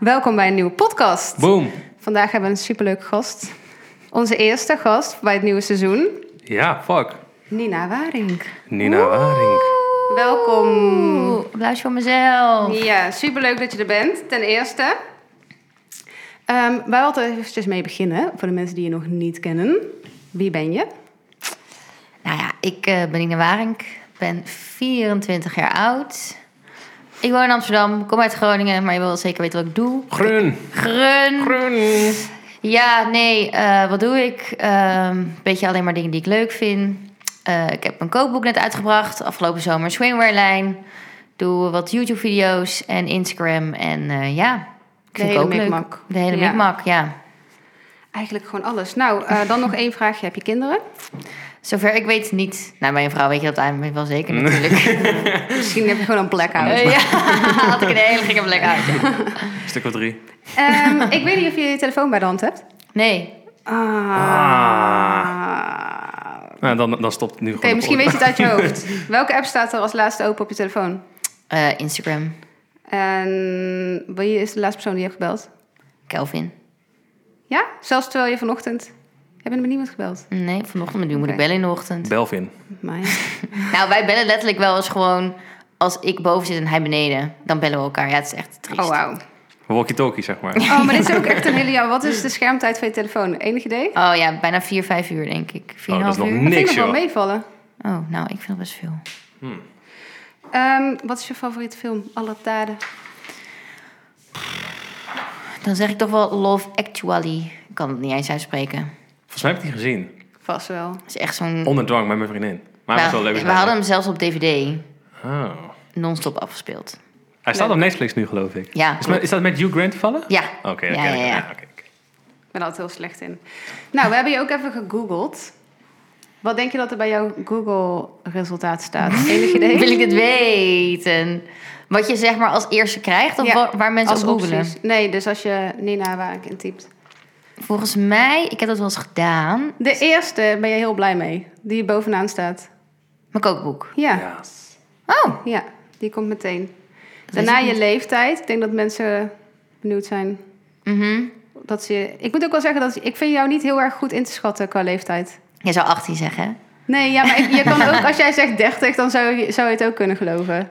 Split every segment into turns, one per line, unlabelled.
Welkom bij een nieuwe podcast.
Boom.
Vandaag hebben we een superleuke gast. Onze eerste gast bij het nieuwe seizoen,
Ja, fuck.
Nina Waring.
Nina Waring.
Welkom.
Oeh, applaus voor mezelf.
Mm. Ja, superleuk dat je er bent, ten eerste. Ehm wij wilden er eventjes mee beginnen, voor de mensen die je nog niet kennen. Wie ben je?
Nou ja, ik eh, ben Ine Waring, ben 24 jaar oud. Ik woon in Amsterdam, kom uit Groningen, maar je wil wel zeker weten wat ik doe.
Groen.
Grun.
Groen.
Ja, nee, eh, wat doe ik? Ehm beetje alleen maar dingen die ik leuk vind. Eh, ik heb een kookboek net uitgebracht, afgelopen zomer swingwearlijn. Doe wat YouTube-video's en Instagram en eh, ja, ik
De
vind
hele
ook leuk.
mikmak.
De hele
Ja.
mikmak, ja.
Eigenlijk gewoon alles. Nou, eh, dan nog één vraagje. Heb je kinderen?
Zover ik weet niet. Nou, mijn vrouw weet je dat eigenlijk wel
Mm.
zeker natuurlijk.
Misschien heb je gewoon een blackout.
Eh, ja, had ik een hele gekke plek uit.
Stuk of drie.
Ehm, ik weet niet of je je telefoon bij de hand hebt.
Nee.
Ah.
Nou, dan, dan stopt het nu
Oké,
gewoon. de
misschien weet je
podcast.
het uit je hoofd. Welke app staat er als laatste open op je telefoon?
Eh, Instagram.
En wie is de laatste persoon die je hebt gebeld?
Kelvin.
Ja? Zelfs terwijl je vanochtend... Hebben er niemand gebeld?
Nee, vanochtend. Nu moet ik
Oké.
bellen in de ochtend.
Belvin.
Maar
Nou, wij bellen letterlijk wel eens gewoon... als ik boven zit en hij beneden. Dan bellen we elkaar. Ja, het is echt triest.
Oh, wauw.
Walkie-talkie, zeg maar.
Oh, maar dit is ook echt een hele... Ja, wat is de schermtijd van je telefoon? Enig idee?
Oh ja, bijna vier, vijf uur denk ik. Vier en
Oh, dat
een
is nog
half uur.
Dat vind
niks,
ik nog wel
joh.
meevallen.
Oh, nou, ik vind dat best veel.
Ehm, wat is je favoriete film aller tijden?
Dan zeg ik toch wel Love Actually. Ik kan het niet eens uitspreken.
Volgens mij heb ik die gezien.
Vast wel.
Het is echt zo'n...
Onder dwang met mijn vriendin. Oh, Maar hij was wel leuk.
we hadden hem zelfs op DVD
Oh.
non-stop afgespeeld.
Hij staat op Netflix nu, geloof ik.
Ja.
Is, met- is dat met Hugh Grant vallen?
Ja.
Oké, oké,
ja, ja,
oké,
ja.
oké, oké.
Ik ben er altijd heel slecht in. Nou, we hebben je ook even gegoogeld. Wat denk je dat er bij jouw Google-resultaat staat? Enig idee?
Wil ik het weten? Wat je zeg maar als eerste krijgt of
Ja,
wa- waar, mensen op googelen?
opties. Nee, dus als je Nina Waring intypt.
Volgens mij, ik heb dat wel eens gedaan.
De eerste ben je heel blij mee. Die bovenaan staat.
Mijn kookboek.
Ja, ja.
Ja.
Oh,
die komt meteen.
weet
Daarna
ik
je leeftijd. Ik denk dat mensen benieuwd zijn.
mhm.
Dat ze, ik moet ook wel zeggen, dat ik vind jou niet heel erg goed in te schatten qua leeftijd.
Jij zou 18 zeggen. hè?
Nee, ja, maar ik- je kan ook, als jij zegt 30, dan zou je, zou je het ook kunnen geloven.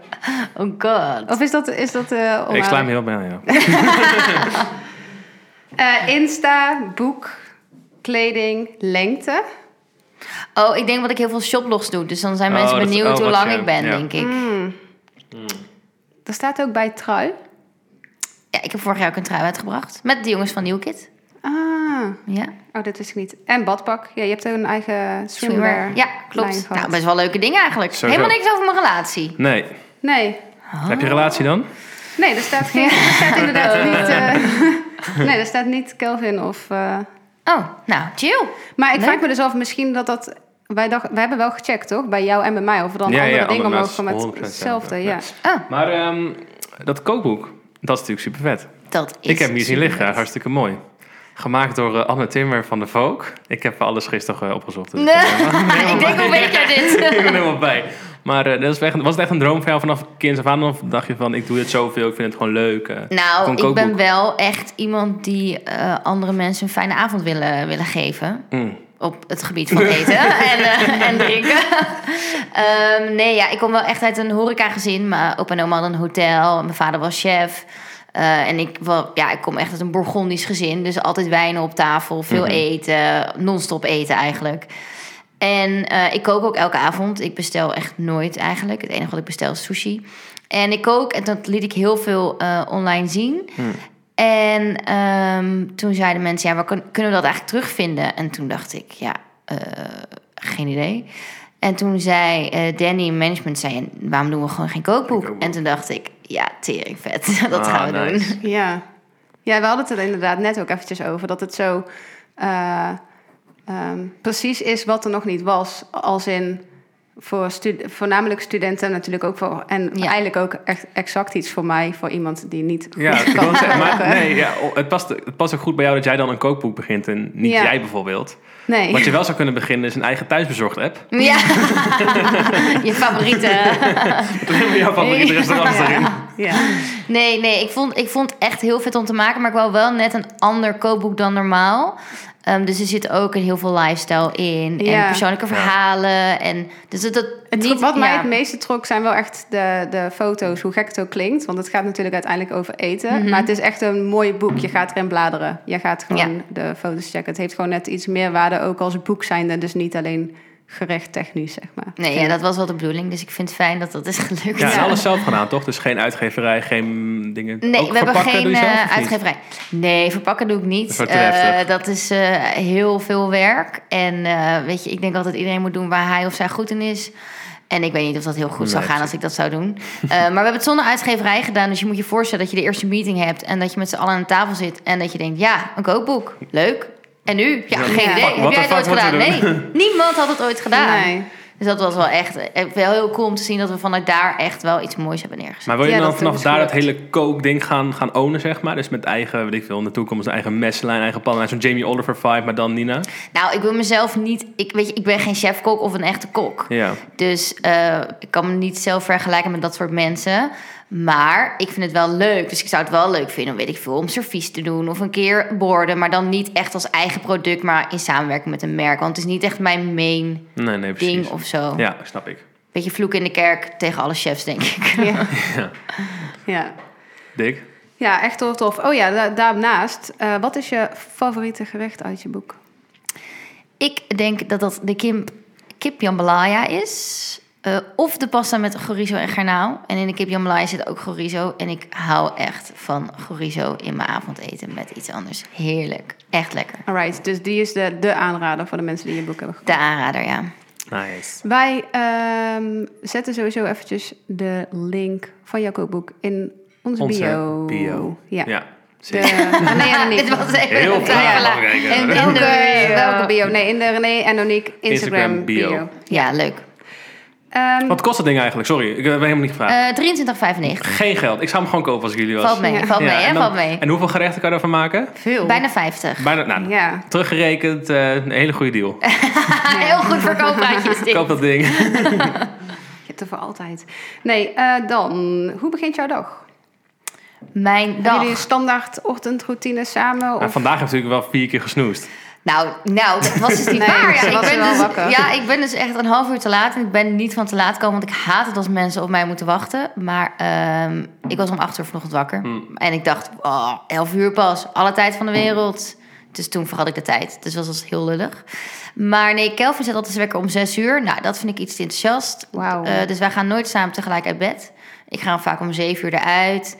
Oh god.
Of is dat, is dat eh,
Ik
onwaardig?
sla hem heel bijna, ja.
Eh, Insta, boek, kleding, lengte.
Oh, ik denk dat ik heel veel shoplogs doe. Dus dan zijn
Oh,
mensen
dat-
benieuwd
oh,
hoe
wat
lang
je-
ik ben,
ja.
denk ik.
Mm.
Mm.
Er staat ook bij trui.
Ja, ik heb vorig jaar ook een trui uitgebracht. Met de jongens van New Kid.
Ah,
Ja,
oh, dat wist ik niet. En badpak. Ja, je hebt ook een eigen swimwear.
swimwear. Ja,
lijn
klopt.
gehad.
Nou, best wel leuke dingen eigenlijk.
Sowieso.
Helemaal niks over mijn relatie.
Nee.
Nee,
Heb je relatie dan?
Oh. nee, er staat, geen, er staat inderdaad niet... eh, nee, er staat niet Kelvin of... eh,
Oh, nou, chill.
maar ik
Leuk.
vraag me dus af, misschien dat dat... Wij, dacht, wij hebben wel gecheckt, toch? Bij jou en bij mij. Of er dan
Ja,
andere
ja,
dingen
andere
omhoog
mensen,
komen. met
100%,
Hetzelfde,
ja.
ja.
Oh,
Maar ehm, dat kookboek, dat is natuurlijk super vet.
dat is
Ik heb hem hier zien
super
liggen,
vet.
hartstikke mooi. Gemaakt door eh, Anne Timmer van de Vogue. Ik heb alles gisteren eh, opgezocht. Dus
Nee,
ik ben helemaal-
ik denk, hoe weet jij dit?
ik ben helemaal bij. Maar eh, dat is echt, was het echt een droom van jou vanaf kind af aan? Of dacht je van, ik doe dit zoveel, ik vind het gewoon leuk? eh,
Nou,
gewoon
ik ben
kookboek?
wel echt iemand die eh, andere mensen een fijne avond willen, willen geven.
Mm.
Op het gebied van eten en, eh, en drinken. Ehm, nee, ja, ik kom wel echt uit een horecagezin. Mijn opa en oma hadden een hotel. Mijn vader was chef. Eh, en ik, wel, ja, ik kom echt uit een Bourgondisch gezin. Dus altijd wijnen op tafel, veel eten. Non-stop eten eigenlijk. En eh, ik kook ook elke avond. Ik bestel echt nooit eigenlijk. Het enige wat ik bestel is sushi. En ik kook, en dat liet ik heel veel eh, online zien.
Hmm.
En ehm, toen zeiden mensen, ja, waar kun- kunnen we dat eigenlijk terugvinden? En toen dacht ik, ja, eh, geen idee. En toen zei eh, Danny in management, zei, waarom doen we gewoon geen kookboek?
kookboek.
En toen dacht ik, ja, tering vet, dat
Ah,
gaan we
nice.
doen.
Ja. ja, we hadden het er inderdaad net ook eventjes over. Dat het zo eh, ehm, precies is wat er nog niet was. Als in, Voor stu- voornamelijk studenten natuurlijk ook voor. En
Ja.
eigenlijk ook echt exact iets voor mij, voor iemand die niet.
Ja,
goed
ik
kan
wou zeggen, maar
koken.
nee, ja, oh, het, past, het past ook goed bij jou dat jij dan een kookboek begint en niet
Ja.
jij bijvoorbeeld.
Nee.
Wat je wel zou kunnen beginnen is een eigen thuisbezorgd app.
Ja, je favoriete.
Met jouw favoriete restaurants
ja.
erin.
Ja.
Nee, nee, ik vond, ik vond echt heel vet om te maken. Maar ik wou wel net een ander kookboek dan normaal. Ehm, dus er zit ook heel veel lifestyle in. En
Ja.
persoonlijke verhalen. En, dus dat, dat
Het,
niet,
wat mij
ja.
het meeste trok zijn wel echt de, de foto's, hoe gek het ook klinkt. Want het gaat natuurlijk uiteindelijk over eten. Maar het is echt een mooi boek. Je gaat erin bladeren. Je gaat gewoon
Mhm. Ja.
de foto's checken. Het heeft gewoon net iets meer waarde, ook als boek zijnde. Dus niet alleen gerecht technisch, zeg maar.
Nee, ja, dat was wel de bedoeling. Dus ik vind het fijn dat dat is gelukt.
Ja, en
Ja.
alles zelf gedaan, toch? Dus geen uitgeverij, geen dingen.
Nee,
Ook
we hebben
verpakken doe
geen
je zelf, of
eh,
niet?
uitgeverij. Nee, verpakken doe ik niet.
Dat is wel te
Eh,
heftig.
dat is eh, heel veel werk. En eh, weet je, ik denk altijd iedereen moet doen waar hij of zij goed in is. En ik weet niet of dat heel goed zou
Nee,
gaan als ik dat zou doen. Eh, maar we hebben het zonder uitgeverij gedaan. Dus je moet je voorstellen dat je de eerste meeting hebt. En dat je met z'n allen aan tafel zit. En dat je denkt, ja, een kookboek. Leuk. En nu?
Ja,
Ja, geen
ja.
idee.
Wat-
Heb
wat
jij
de
het ooit
fuck
gedaan?
moeten
Nee,
we
niemand had het ooit gedaan.
Nee.
Dus dat was wel echt eh, wel heel cool om te zien dat we vanuit daar echt wel iets moois hebben neergezet.
Maar wil je
Ja,
dan
dat
dus
vanaf
is
daar dat
gelukt.
hele kookding gaan, gaan ownen, zeg maar? Dus met eigen, weet ik veel, in de toekomst een eigen meslijn, eigen pan. Zo'n Jamie Oliver vibe, maar dan Nina.
Nou, ik wil mezelf niet. Ik, weet je, ik ben geen chefkok of een echte kok.
Ja.
Dus eh, ik kan me niet zelf vergelijken met dat soort mensen. Maar ik vind het wel leuk. Dus ik zou het wel leuk vinden, weet ik veel, om servies te doen. Of een keer borden. Maar dan niet echt als eigen product, maar in samenwerking met een merk. Want het is niet echt mijn main
Nee, nee, precies.
ding of zo.
Ja, snap ik.
Beetje vloek in de kerk tegen alle chefs, denk ik.
Ja.
Ja.
ja.
Dik.
Ja, echt heel tof. Oh ja, da- daarnaast. eh, wat is je favoriete gerecht uit je boek?
Ik denk dat dat de kim, kip jambalaya is. Eh, of de pasta met chorizo en garnaal. En in de kip jambalaya zit ook chorizo. En ik hou echt van chorizo in mijn avondeten met iets anders. Heerlijk. Echt lekker.
Alright, dus die is de, de aanrader voor de mensen die je boek hebben gekocht.
De aanrader, ja.
Nice.
Wij ehm, zetten sowieso eventjes de link van jouw kookboek in onze, bio. Ja.
Ja.
ja. De,
zeker.
René en Aniek.
Dit was even
Heel
een
graag
tijdje.
belangrijk, hè.
En
Welke-
in
Welke,
de-
welke bio? Nee, in de René en Aniek Instagram,
Instagram bio.
bio.
Ja, leuk.
Ehm,
Wat kost dat ding eigenlijk? Sorry, ik heb helemaal niet gevraagd.
Eh 23,95.
Geen geld. Ik zou hem gewoon kopen als ik jullie was.
Valt mee,
Ja.
valt mee,
Ja,
hè?
en dan-
valt mee.
En hoeveel gerechten kan je daarvan maken?
veel.
Bijna 50.
Bijna, nou,
Ja.
teruggerekend, eh, een hele goede deal.
Heel goed verkooppraatje is dit.
Koop dat ding.
Je hebt er voor altijd. Nee, eh, dan. Hoe begint jouw dag?
Mijn
Hebben
dag.
jullie een standaard ochtendroutine samen?
Nou,
Of?
vandaag heb ik natuurlijk wel vier keer gesnoest.
Nou, nou, dat was dus niet
Nee,
waar. Ja,
ze
ik
was
ben
wel
dus,
wakker.
Ja, ik ben dus echt een half uur te laat. En ik ben niet van te laat komen, want ik haat het als mensen op mij moeten wachten. Maar ehm, ik was om acht uur vanochtend wakker. En ik dacht, oh, elf uur pas. Alle tijd van de wereld. Dus toen vergat ik de tijd. Dus dat was heel lullig. Maar nee, Kelvin zet altijd zijn wekker om zes uur. Nou, dat vind ik iets te enthousiast.
Wauw.
Eh, dus wij gaan nooit samen tegelijk uit bed. Ik ga vaak om zeven uur eruit.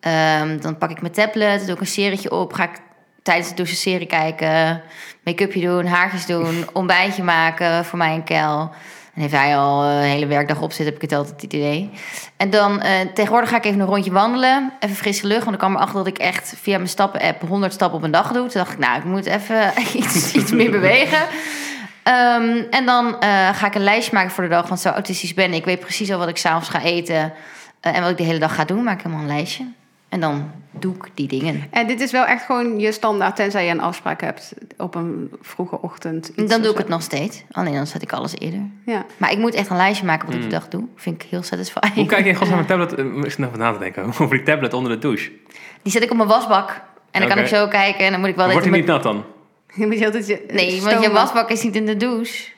Ehm, dan pak ik mijn tablet, doe ik een serietje op. Ga ik tijdens de douche een serie kijken. Make-upje doen, haartjes doen. Ontbijtje maken voor mij en Kel. En heeft hij al eh, een hele werkdag op zitten, heb ik het altijd het idee. En dan eh, tegenwoordig ga ik even een rondje wandelen. Even frisse lucht. Want ik kwam erachter dat ik echt via mijn stappen-app 100 stappen op een dag doe. Toen dacht ik, nou, ik moet even iets, iets meer bewegen. Ehm, en dan eh, ga ik een lijstje maken voor de dag. Want zo autistisch ben ik. Ik weet precies al wat ik s'avonds ga eten. eh, en wat ik de hele dag ga doen. Maak ik helemaal een lijstje. En dan doe ik die dingen.
En dit is wel echt gewoon je standaard, tenzij je een afspraak hebt op een vroege ochtend. iets
dan
of
doe ik
zo.
het nog steeds. Alleen dan zet ik alles eerder.
Ja.
Maar ik moet echt een lijstje maken wat ik de dag doe. Vind ik heel satisfying.
Mm. Hoe kijk je in godsnaam mijn tablet? eh, Ik zit nog even na te denken over die tablet onder de douche.
Die zet ik op mijn wasbak. En dan kan
Oké.
ik zo kijken. En dan moet ik wel
Wordt
even
hij niet
mijn-
nat dan?
Je moet je altijd je
Nee,
stoom
want je
af-
wasbak is niet in de douche.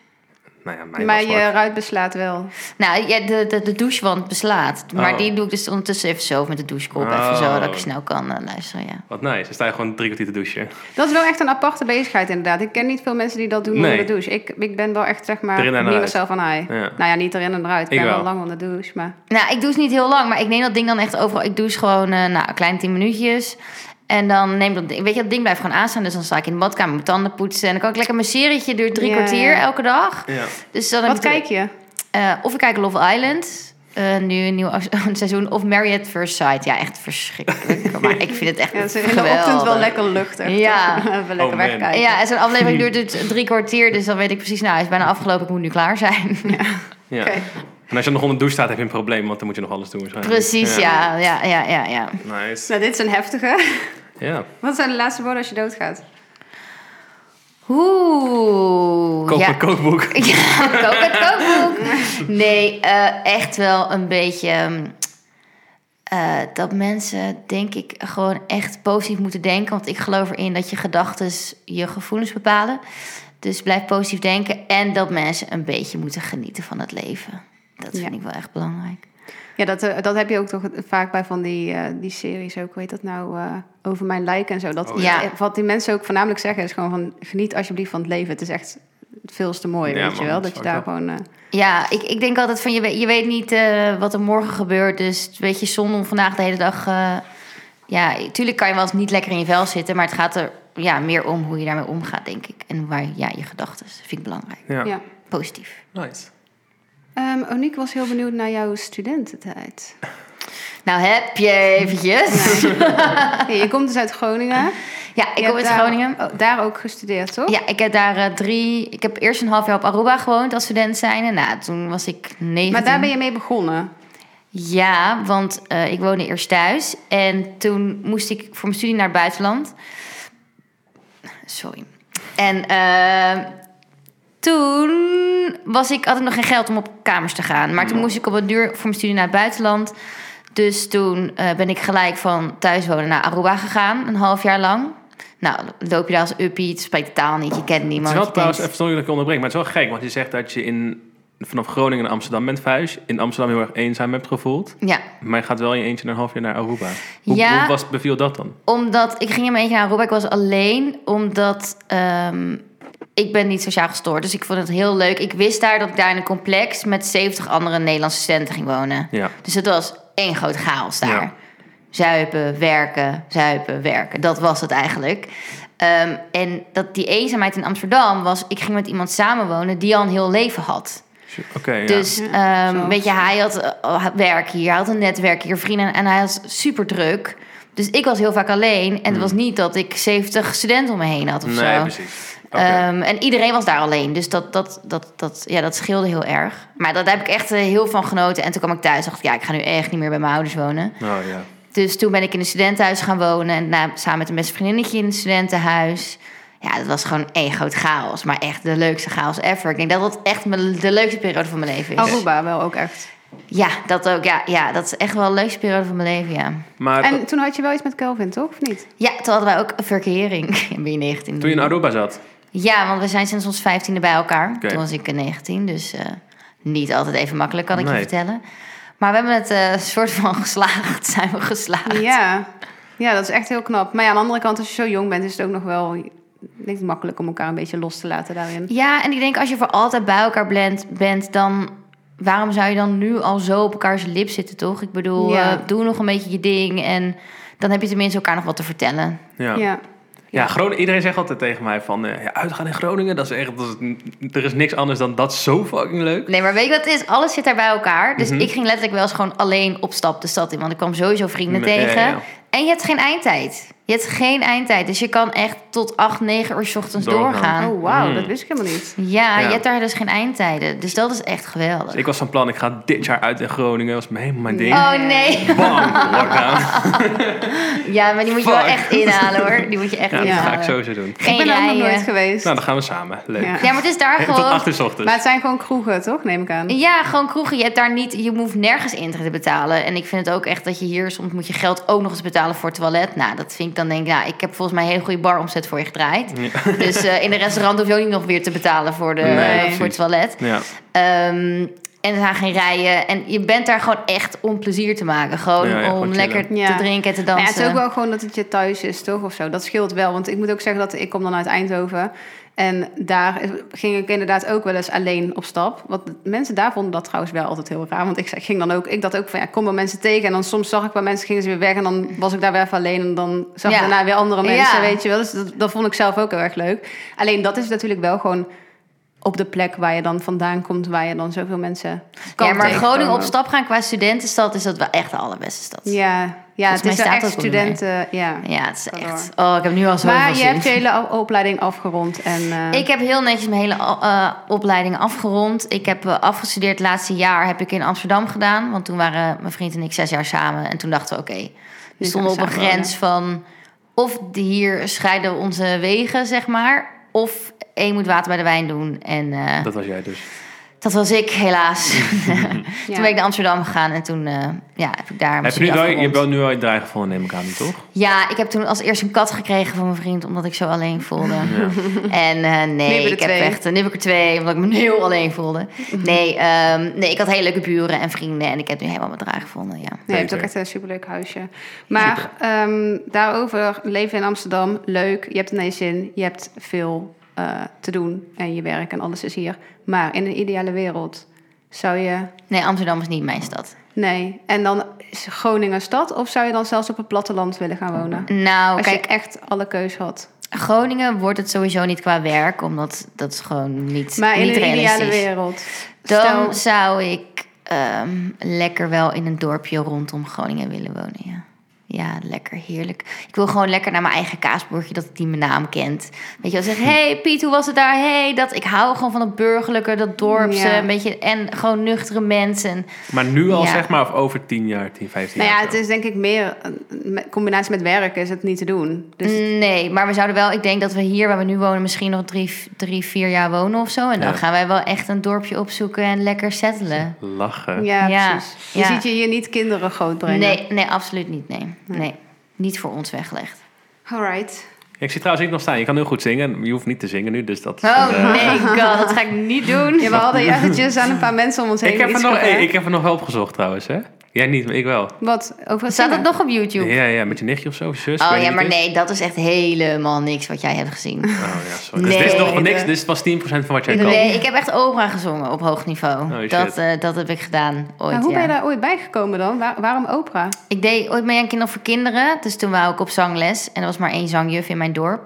Nou ja, mijn
Maar
wasbak.
eh,
je ruit beslaat wel.
Nou, ja, de, de, de douchewand beslaat. Maar
Oh.
die doe ik dus ondertussen even zo. Of met de douchekop even
Oh.
zo. Dat ik snel kan eh, luisteren, ja.
Wat nice. Dan sta je gewoon drie kwartier te douchen.
Dat is wel echt een aparte bezigheid inderdaad. Ik ken niet veel mensen die dat doen
Nee.
onder de douche. Ik, ik ben wel echt zeg maar
Erin en
niet
eruit.
mezelf aan hij.
Ja.
Nou ja, niet erin en eruit. Ik,
Ik
ben wel.
wel.
lang onder de douche, maar
Nou, ik douche niet heel lang, maar ik neem dat ding dan echt overal. Ik douche gewoon eh nou, een kleine 10 minuutjes. En dan neem ik dat ding. Weet je, dat ding blijft gewoon aanstaan. Dus dan sta ik in de badkamer mijn tanden poetsen. En dan kan ik lekker mijn serietje. Duurt drie
Ja,
kwartier
ja.
elke dag.
Ja.
Dus dan heb
wat
ik-
kijk je?
eh, of ik kijk Love Island. eh, nu een nieuw af- seizoen. Of Married at First Sight. Ja, echt verschrikkelijk. Maar ik vind het echt
Ja, het is in de
geweldig.
ochtend wel lekker luchtig.
Ja.
toch? Even lekker
Oh, man.
wegkijken.
Ja, en zo'n aflevering duurt dus drie kwartier. Dus dan weet ik precies, nou, hij is bijna afgelopen. Ik moet nu klaar zijn.
Ja.
Oké.
En als je nog onder de douche staat, heb je een probleem, want dan moet je nog alles doen waarschijnlijk.
Precies, ja. Ja, ja, ja, ja. Oh,
Nice.
Nou, dit is een heftige.
Ja.
Wat zijn de laatste woorden als je doodgaat?
Oeh.
Koop
ja.
een kookboek.
Ja, koop het kookboek. Nee, eh, echt wel een beetje... ehm, eh, dat mensen, denk ik, gewoon echt positief moeten denken. Want ik geloof erin dat je gedachten je gevoelens bepalen. Dus blijf positief denken. En dat mensen een beetje moeten genieten van het leven. Dat
Ja.
vind ik wel echt belangrijk.
Ja, dat, eh, dat heb je ook toch vaak bij van die, eh, die series ook. Hoe heet dat nou? eh, over mijn lijken en zo. Dat,
Oh,
ja.
eh, Wat die mensen ook voornamelijk zeggen is gewoon van... geniet alsjeblieft van het leven. Het is echt veel te mooi,
Ja,
weet
man,
je wel.
dat
Dat
is
je daar
ook wel-
gewoon... eh,
Ja, ik, ik denk altijd van je weet, je weet niet eh, wat er morgen gebeurt. Dus het weet je, zonde om vandaag de hele dag. eh, ja, tuurlijk kan je wel eens niet lekker in je vel zitten. Maar het gaat er ja, meer om hoe je daarmee omgaat, denk ik. En waar ja, je gedachten. Vind ik belangrijk.
Ja.
ja.
Positief.
Nice.
Ehm, Oniek was heel benieuwd naar jouw studententijd.
Nou, heb je eventjes.
Hey, je komt dus uit Groningen.
Ja, ik
Je
kom uit
hebt daar-
Groningen.
oh, daar ook gestudeerd, toch?
Ja, ik heb daar eh, drie. Ik heb eerst een half jaar op Aruba gewoond als student zijnde. Nou, toen was ik 19.
Maar daar ben je mee begonnen.
Ja, want eh, ik woonde eerst thuis. En toen moest ik voor mijn studie naar het buitenland. Sorry. En eh, toen was ik, had ik nog geen geld om op kamers te gaan. Maar toen moest ik op het duur voor mijn studie naar het buitenland. Dus toen eh, ben ik gelijk van thuis wonen naar Aruba gegaan. Een half jaar lang. Nou, loop je daar als uppie, je spreekt de taal niet, je kent
Het is
niemand.
wel
je
trouwens,
denkt-
even sorry dat ik je onderbreek, maar het is wel gek, want je zegt dat je in, vanaf Groningen naar Amsterdam bent verhuisd, in Amsterdam heel erg eenzaam hebt gevoeld,
Ja,
maar je gaat wel in je eentje naar een half jaar naar Aruba. Hoe,
Ja.
hoe was, beviel dat dan?
Omdat ik ging in mijn eentje naar Aruba. Ik was alleen omdat ehm, ik ben niet sociaal gestoord. Dus ik vond het heel leuk. Ik wist daar dat ik daar in een complex met 70 andere Nederlandse studenten ging wonen.
Ja.
Dus het was één groot chaos daar.
Ja.
Zuipen, werken, zuipen, werken. Dat was het eigenlijk. Ehm, en dat die eenzaamheid in Amsterdam was... ik ging met iemand samenwonen die al een heel leven had.
Oké, ja.
Dus
Ja,
ehm,
zo.
weet je, hij had eh, werk hier, hij had een netwerk hier, vrienden en hij was super druk. Dus ik was heel vaak alleen en het was niet dat ik 70 studenten om me heen had of zo.
Hmm. Nee, precies. Oké.
Ehm, en iedereen was daar alleen, dus dat, dat, dat, dat, ja, dat scheelde heel erg. Maar dat, daar heb ik echt eh, heel van genoten. En toen kwam ik thuis en dacht ik, ja, ik ga nu echt niet meer bij mijn ouders wonen.
oh ja.
Dus toen ben ik in een studentenhuis gaan wonen. En na, samen met een beste vriendinnetje in een studentenhuis. Ja, dat was gewoon één groot chaos. Maar echt de leukste chaos ever. Ik denk dat dat echt mijn- de leukste periode van mijn leven is.
Aruba wel ook echt.
Ja, dat ook. Ja, ja, dat is echt wel de leukste periode van mijn leven, ja.
Maar
En toen had je wel iets met Kelvin, toch? Of niet?
Ja, toen hadden wij ook een verkering. Ben je 19?
toen je in Aruba zat,
Ja, want we zijn sinds ons 15e bij elkaar.
Oké.
Toen was ik eh, 19, dus eh, niet altijd even makkelijk, kan ik
Nee.
je vertellen. Maar we hebben het eh, soort van geslaagd. Zijn we geslaagd.
Ja. ja, dat is echt heel knap. Maar ja, aan de andere kant, als je zo jong bent, is het ook nog wel ik denk ik, makkelijk om elkaar een beetje los te laten daarin.
Ja, en ik denk als je voor altijd bij elkaar blend, bent, dan waarom zou je dan nu al zo op elkaars lip zitten, toch? Ik bedoel,
Ja.
eh, doe nog een beetje je ding en dan heb je tenminste elkaar nog wat te vertellen.
ja. ja.
Ja.
Groningen, iedereen zegt altijd tegen mij van, eh, ja, uitgaan in Groningen, dat is echt, dat is, er is niks anders dan dat zo fucking leuk.
Nee, maar weet je wat het is? Alles zit daar bij elkaar. Dus
Mhm.
ik ging letterlijk wel eens gewoon alleen op stap de stad in. Want ik kwam sowieso vrienden
Nee,
tegen.
ja.
En je hebt geen eindtijd. Je hebt geen eindtijd. Dus je kan echt tot 8, 9 uur 's ochtends
Doorgaan.
doorgaan.
Oh, wauw,
Mm.
dat wist ik helemaal niet.
Ja,
Ja.
je hebt daar dus geen eindtijden. Dus dat is echt geweldig.
Dus ik was van plan, ik ga dit jaar uit in Groningen, dat was helemaal mijn ding.
Oh nee.
Bam, lockdown.
Ja, maar die moet je wel
Fuck.
echt inhalen hoor. Die moet je echt
Ja, dat
Ja.
inhalen.
ga ik sowieso doen.
Geen
ik ben daar ook nog
rijden.
nooit geweest.
Nou, dan gaan we samen. Leuk.
Ja.
Ja, maar het is daar
Tot
gewoon...
acht uur 's ochtends.
Maar het zijn gewoon kroegen, toch? Neem ik aan.
Ja, gewoon kroegen. Je hebt daar niet... Je hoeft nergens intrede te betalen. En ik vind het ook echt dat je hier... Soms moet je geld ook nog eens betalen voor het toilet. Nou, dat vind ik dan denk ik... Nou, ik heb volgens mij een hele goede baromzet voor je gedraaid. Dus eh, in een restaurant hoef je ook niet nog weer te betalen voor, de,
Nee,
eh,
precies.
voor het toilet.
Ja.
Ehm, en er zijn geen rijen. En je bent daar gewoon echt om plezier te maken. Gewoon
Ja, ja, gewoon
om
chillen.
lekker
Ja.
te drinken en te
Nou ja,
dansen.
het is ook wel gewoon dat het je thuis is, toch? Of zo. Dat scheelt wel. Want ik moet ook zeggen dat ik kom dan uit Eindhoven. En daar is- ging ik inderdaad ook wel eens alleen op stap. Want de mensen daar vonden dat trouwens wel altijd heel raar. Want ik zei- ging dan ook, ik dacht ook van ja, ik kom wel mensen tegen. En dan soms zag ik wel mensen, gingen ze weer weg. En dan was ik daar weer even alleen. En dan zag ik
Ja.
daarna weer andere mensen,
Ja.
weet je wel. Dus dat, dat vond ik zelf ook heel erg leuk. Alleen dat is natuurlijk wel gewoon op de plek waar je dan vandaan komt. Waar je dan zoveel mensen kan
ja, maar
tegenkomen.
Groningen op stap gaan qua studentenstad... is dat wel echt de allerbeste stad.
Ja, Ja,
Volgens
het is
mij
wel
staat
echt
dat op de menu.
studenten... Ja.
Ja, het is
Kan
echt... Oh, ik heb nu al zoveel
Maar je
zin.
hebt je hele o- opleiding afgerond. En, eh,
Ik heb heel netjes mijn hele eh, opleiding afgerond. Ik heb eh, afgestudeerd. Laatste jaar heb ik in Amsterdam gedaan. Want toen waren mijn vriend en ik zes jaar samen. En toen dachten we, oké, we
Nu
stonden op
gaan
een
we samen
grens van... of die hier scheiden onze wegen, zeg maar... of één moet water bij de wijn doen. En eh, dat...
Dat was jij dus.
was ik, helaas.
ja.
Toen ben ik naar Amsterdam gegaan en toen eh, ja, heb ik daar mijn
Heb je, nu wel,
studie
je
afgerond.
hebt wel nu al je draai gevonden, neem ik aan, toch?
Ja, ik heb toen als eerst een kat gekregen van mijn vriend, omdat ik zo alleen voelde. En eh,
heb je
nee,
er
ik heb
twee.
echt, eh, nu heb ik er twee, omdat ik me heel alleen voelde. Nee, ehm, nee, ik had hele leuke buren en vrienden en ik heb nu helemaal mijn draai gevonden, ja.
Nee, je hebt ook
Beter.
echt een superleuk huisje. Maar ehm, daarover, leven in Amsterdam, leuk. Je hebt het naar je zin. Je hebt veel eh, te doen en je werk en alles is hier. Maar in een ideale wereld zou je...
Nee, Amsterdam is niet mijn stad.
Nee. En dan is Groningen stad? Of zou je dan zelfs op het platteland willen gaan wonen?
Nou,
Als
kijk,
je echt alle keus had.
Groningen wordt het sowieso niet qua werk, omdat dat is gewoon niet
Maar in
niet
een ideale
realistisch.
wereld.
Dan
Stel,
zou ik ehm, lekker wel in een dorpje rondom Groningen willen wonen, ja. Ja, lekker, heerlijk. Ik wil gewoon lekker naar mijn eigen kaasboertje, dat die mijn naam kent. Weet je
Hm.
wel, zeg, hey Piet, hoe was het daar? hey, dat... Ik hou gewoon van dat burgerlijke, dat dorpse,
Ja.
een beetje... En gewoon nuchtere mensen.
Maar nu al,
Ja.
zeg maar, of over 10 jaar, 10, 15
nou ja,
jaar.
het
zo.
is denk ik meer... In combinatie met werk is het niet te doen. Dus
Mm. Nee, maar we zouden wel... Ik denk dat we hier waar we nu wonen misschien nog drie, drie vier jaar wonen of zo. En dan
Ja.
gaan wij wel echt een dorpje opzoeken en lekker settelen.
Lachen.
ja,
Ja,
precies. Je
ja.
ziet je hier niet kinderen grootbrengen.
Nee, nee, absoluut niet, nee.
Hm.
Nee, niet voor ons weggelegd.
All right.
Ik zie trouwens ik nog staan. Je kan heel goed zingen. Je hoeft niet te zingen nu, dus dat...
Oh
eh,
nee, god, dat ga ik niet doen.
Ja, we hadden eventjes aan een paar mensen om ons heen
Ik heb, er
iets
nog,
gevraagd.
hey, ik heb er nog hulp gezocht trouwens, hè? Jij niet, maar ik wel.
Wat? Over het
Staat dat
zingen?
nog op YouTube?
Ja, ja, met je nichtje of zo, of je zus. ik
Oh
weet
ja,
niet
maar
wie het
nee, dat is echt helemaal niks wat jij hebt gezien.
is. Oh ja, sorry. Dus dit is
Nee,
nog niks.
de-
Dit was 10% van wat jij kan.
Nee, ik heb echt opera gezongen op hoog niveau.
Oh, shit.
dat, eh, dat heb ik gedaan ooit.
Maar Nou, hoe
ja.
ben je daar ooit bij gekomen dan? Waar- waarom opera?
Ik deed ooit mee aan Kinderen voor Kinderen. Dus toen wou ik op zangles. En er was maar één zangjuf in mijn dorp.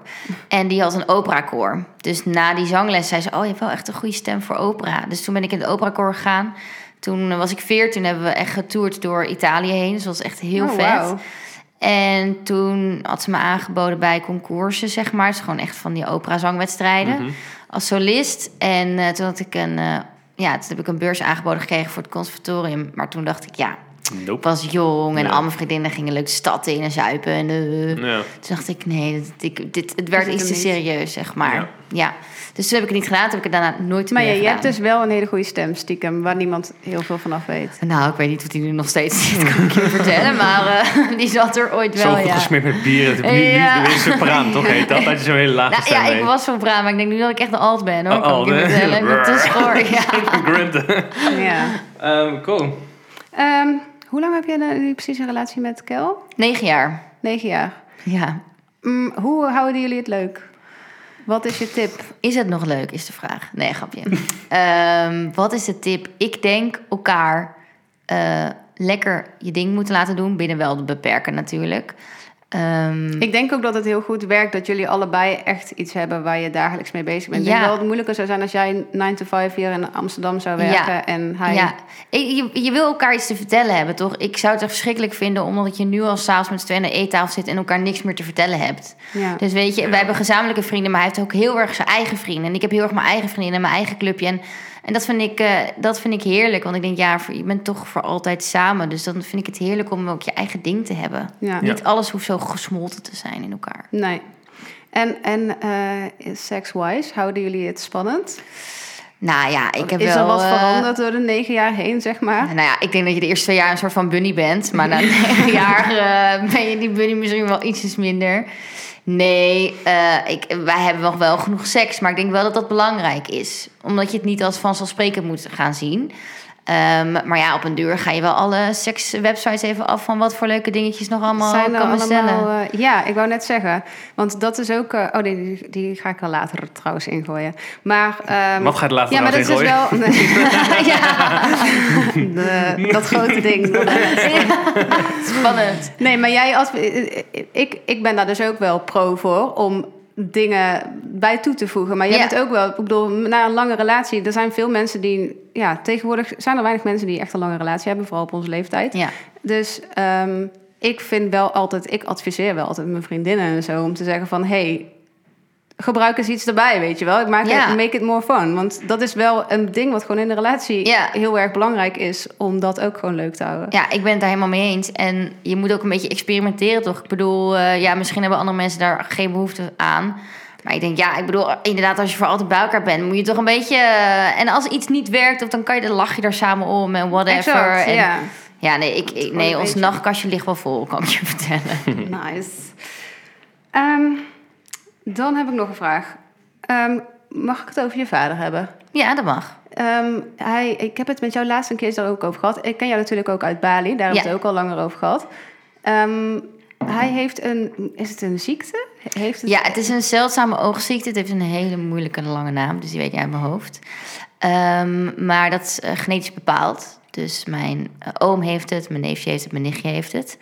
En die had een operakoor. Dus na die zangles zei ze... Oh, je hebt wel echt een goede stem voor opera. Dus toen ben ik in het operakoor gegaan. Toen was ik veertien. Hebben we echt getoerd door Italië heen. Dus dat was echt heel
Oh,
vet.
wauw.
En toen had ze me aangeboden bij concoursen, zeg maar. Het is gewoon echt van die opera-zangwedstrijden.
Mhm.
Als solist. En eh, toen had ik een... eh, ja, toen heb ik een beurs aangeboden gekregen voor het conservatorium. Maar toen dacht ik, ja, ik
Nope.
was jong en
Ja.
al mijn vriendinnen gingen leuk de stad in en zuipen. En, eh.
Ja.
Toen dacht ik, nee, dit, ik- dit, het werd
Is het
iets te
hem
serieus, zeg maar.
Ja.
Ja. Dus toen heb ik het niet gedaan, toen heb ik het daarna nooit
Maar ja,
meer
je hebt
gedaan.
dus wel een hele goede stem, stiekem, waar niemand heel veel van af weet.
Nou, ik weet niet of die nu nog steeds zit, kan ik je vertellen. Maar eh, die zat er ooit wel,
Zo goed
ja.
gesmeerd met bier. dat- Nu, nu,
Ja.
nu is het sopraan, toch? Heet dat? Dat je zo'n hele lage
Nou,
stem
ja, ik
heet.
was zo braaf, maar ik denk nu dat ik echt de alt ben, hoor.
Oh,
kan ik je
alt, hè?
vertellen. Ik ben te schor, ja.
Grunten.
Ja.
Ehm, cool.
Ehm, hoe lang heb jij nou nu precies een relatie met Kel?
Negen jaar.
Negen jaar.
Ja.
Mm, hoe houden jullie het leuk? Wat is je tip?
Is het nog leuk, is de vraag. Nee, grapje. Ehm, wat is de tip? Ik denk elkaar eh, lekker je ding moeten laten doen. Binnen wel de beperken natuurlijk. Ehm,
Ik denk ook dat het heel goed werkt dat jullie allebei echt iets hebben waar je dagelijks mee bezig bent. Ik denk
Ja.
wel dat het moeilijker zou zijn als jij 9 to 5 hier in Amsterdam zou werken
Ja.
en hij...
Ja, Ik- je, je wil elkaar iets te vertellen hebben, toch? Ik zou het echt verschrikkelijk vinden... omdat je nu al s'avonds met z'n tweeën aan de eettafel zit... en elkaar niks meer te vertellen hebt.
Ja.
Dus weet je, wij hebben gezamenlijke vrienden, maar hij heeft ook heel erg zijn eigen vrienden. En ik heb heel erg mijn eigen vrienden en mijn eigen clubje. En, en dat, vind ik, eh, dat vind ik heerlijk. Want ik denk, ja, voor- je bent toch voor altijd samen. Dus dan vind ik het heerlijk om ook je eigen ding te hebben.
Ja.
Niet alles hoeft zo gesmolten te zijn in elkaar.
Nee. En, en eh sex-wise, houden jullie het spannend?
Nou ja, ik heb
Is
wel...
er wat
eh,
veranderd door de negen jaar heen, zeg maar?
Nou ja, ik denk dat je de eerste twee jaar een soort van bunny bent. Maar na negen jaar eh, ben je die bunny misschien wel ietsjes minder. Nee, eh, ik, wij hebben nog wel genoeg seks. Maar ik denk wel dat dat belangrijk is. Omdat je het niet als vanzelfsprekend moet gaan zien. Ehm, maar ja, op een duur ga je wel alle sekswebsites even af... van wat voor leuke dingetjes nog allemaal
Zijn er
kan bestellen.
allemaal... eh, ja, ik wou net zeggen. Want dat is ook... eh, oh nee, die, die ga ik wel later trouwens ingooien. Maar... ehm,
Wat gaat nou later
ja, maar dat is
trouwens
dus wel... eh,
ja,
De- dat grote ding.
spannend.
Nee, maar jij als... Ik, ik ben daar dus ook wel pro voor om dingen bij toe te voegen. Maar jij
Ja.
bent ook wel... Ik bedoel, na een lange relatie... Er zijn veel mensen die... Ja, tegenwoordig zijn er weinig mensen die echt een lange relatie hebben. Vooral op onze leeftijd.
Ja.
Dus ehm, ik vind wel altijd, ik adviseer wel altijd mijn vriendinnen en zo om te zeggen van hey, gebruik eens iets erbij, weet je wel. Ik maak
Ja.
het, make it more fun. Want dat is wel een ding wat gewoon in de relatie
Ja.
heel erg belangrijk is om dat ook gewoon leuk te houden.
Ja, ik ben het daar helemaal mee eens. En je moet ook een beetje experimenteren, toch? Ik bedoel, eh, ja, misschien hebben andere mensen daar geen behoefte aan. Maar ik denk, ja, ik bedoel, inderdaad, als je voor altijd bij elkaar bent, moet je toch een beetje... eh, en als iets niet werkt, of dan kan je, dan lach je daar samen om en whatever.
Exact,
en,
ja.
ja, nee, ik, ik-
Gewoon
nee
een
ons
beetje.
nachtkastje ligt wel vol, kan ik je vertellen.
Nice. Ehm, dan heb ik nog een vraag. Ehm, mag ik het over je vader hebben?
ja, dat mag.
Ehm, hij, ik heb het met jou laatst een keer daar ook over gehad. Ik ken jou natuurlijk ook uit Bali, daar hebben we
Ja.
het ook al langer over gehad. Ehm, hij heeft een, is het een ziekte? Heeft het,
Ja, het is een zeldzame oogziekte. Het heeft een hele moeilijke en lange naam, dus die weet je uit mijn hoofd. Ehm, maar dat is eh, genetisch bepaald. Dus mijn eh, oom heeft het, mijn neefje heeft het, mijn nichtje heeft het.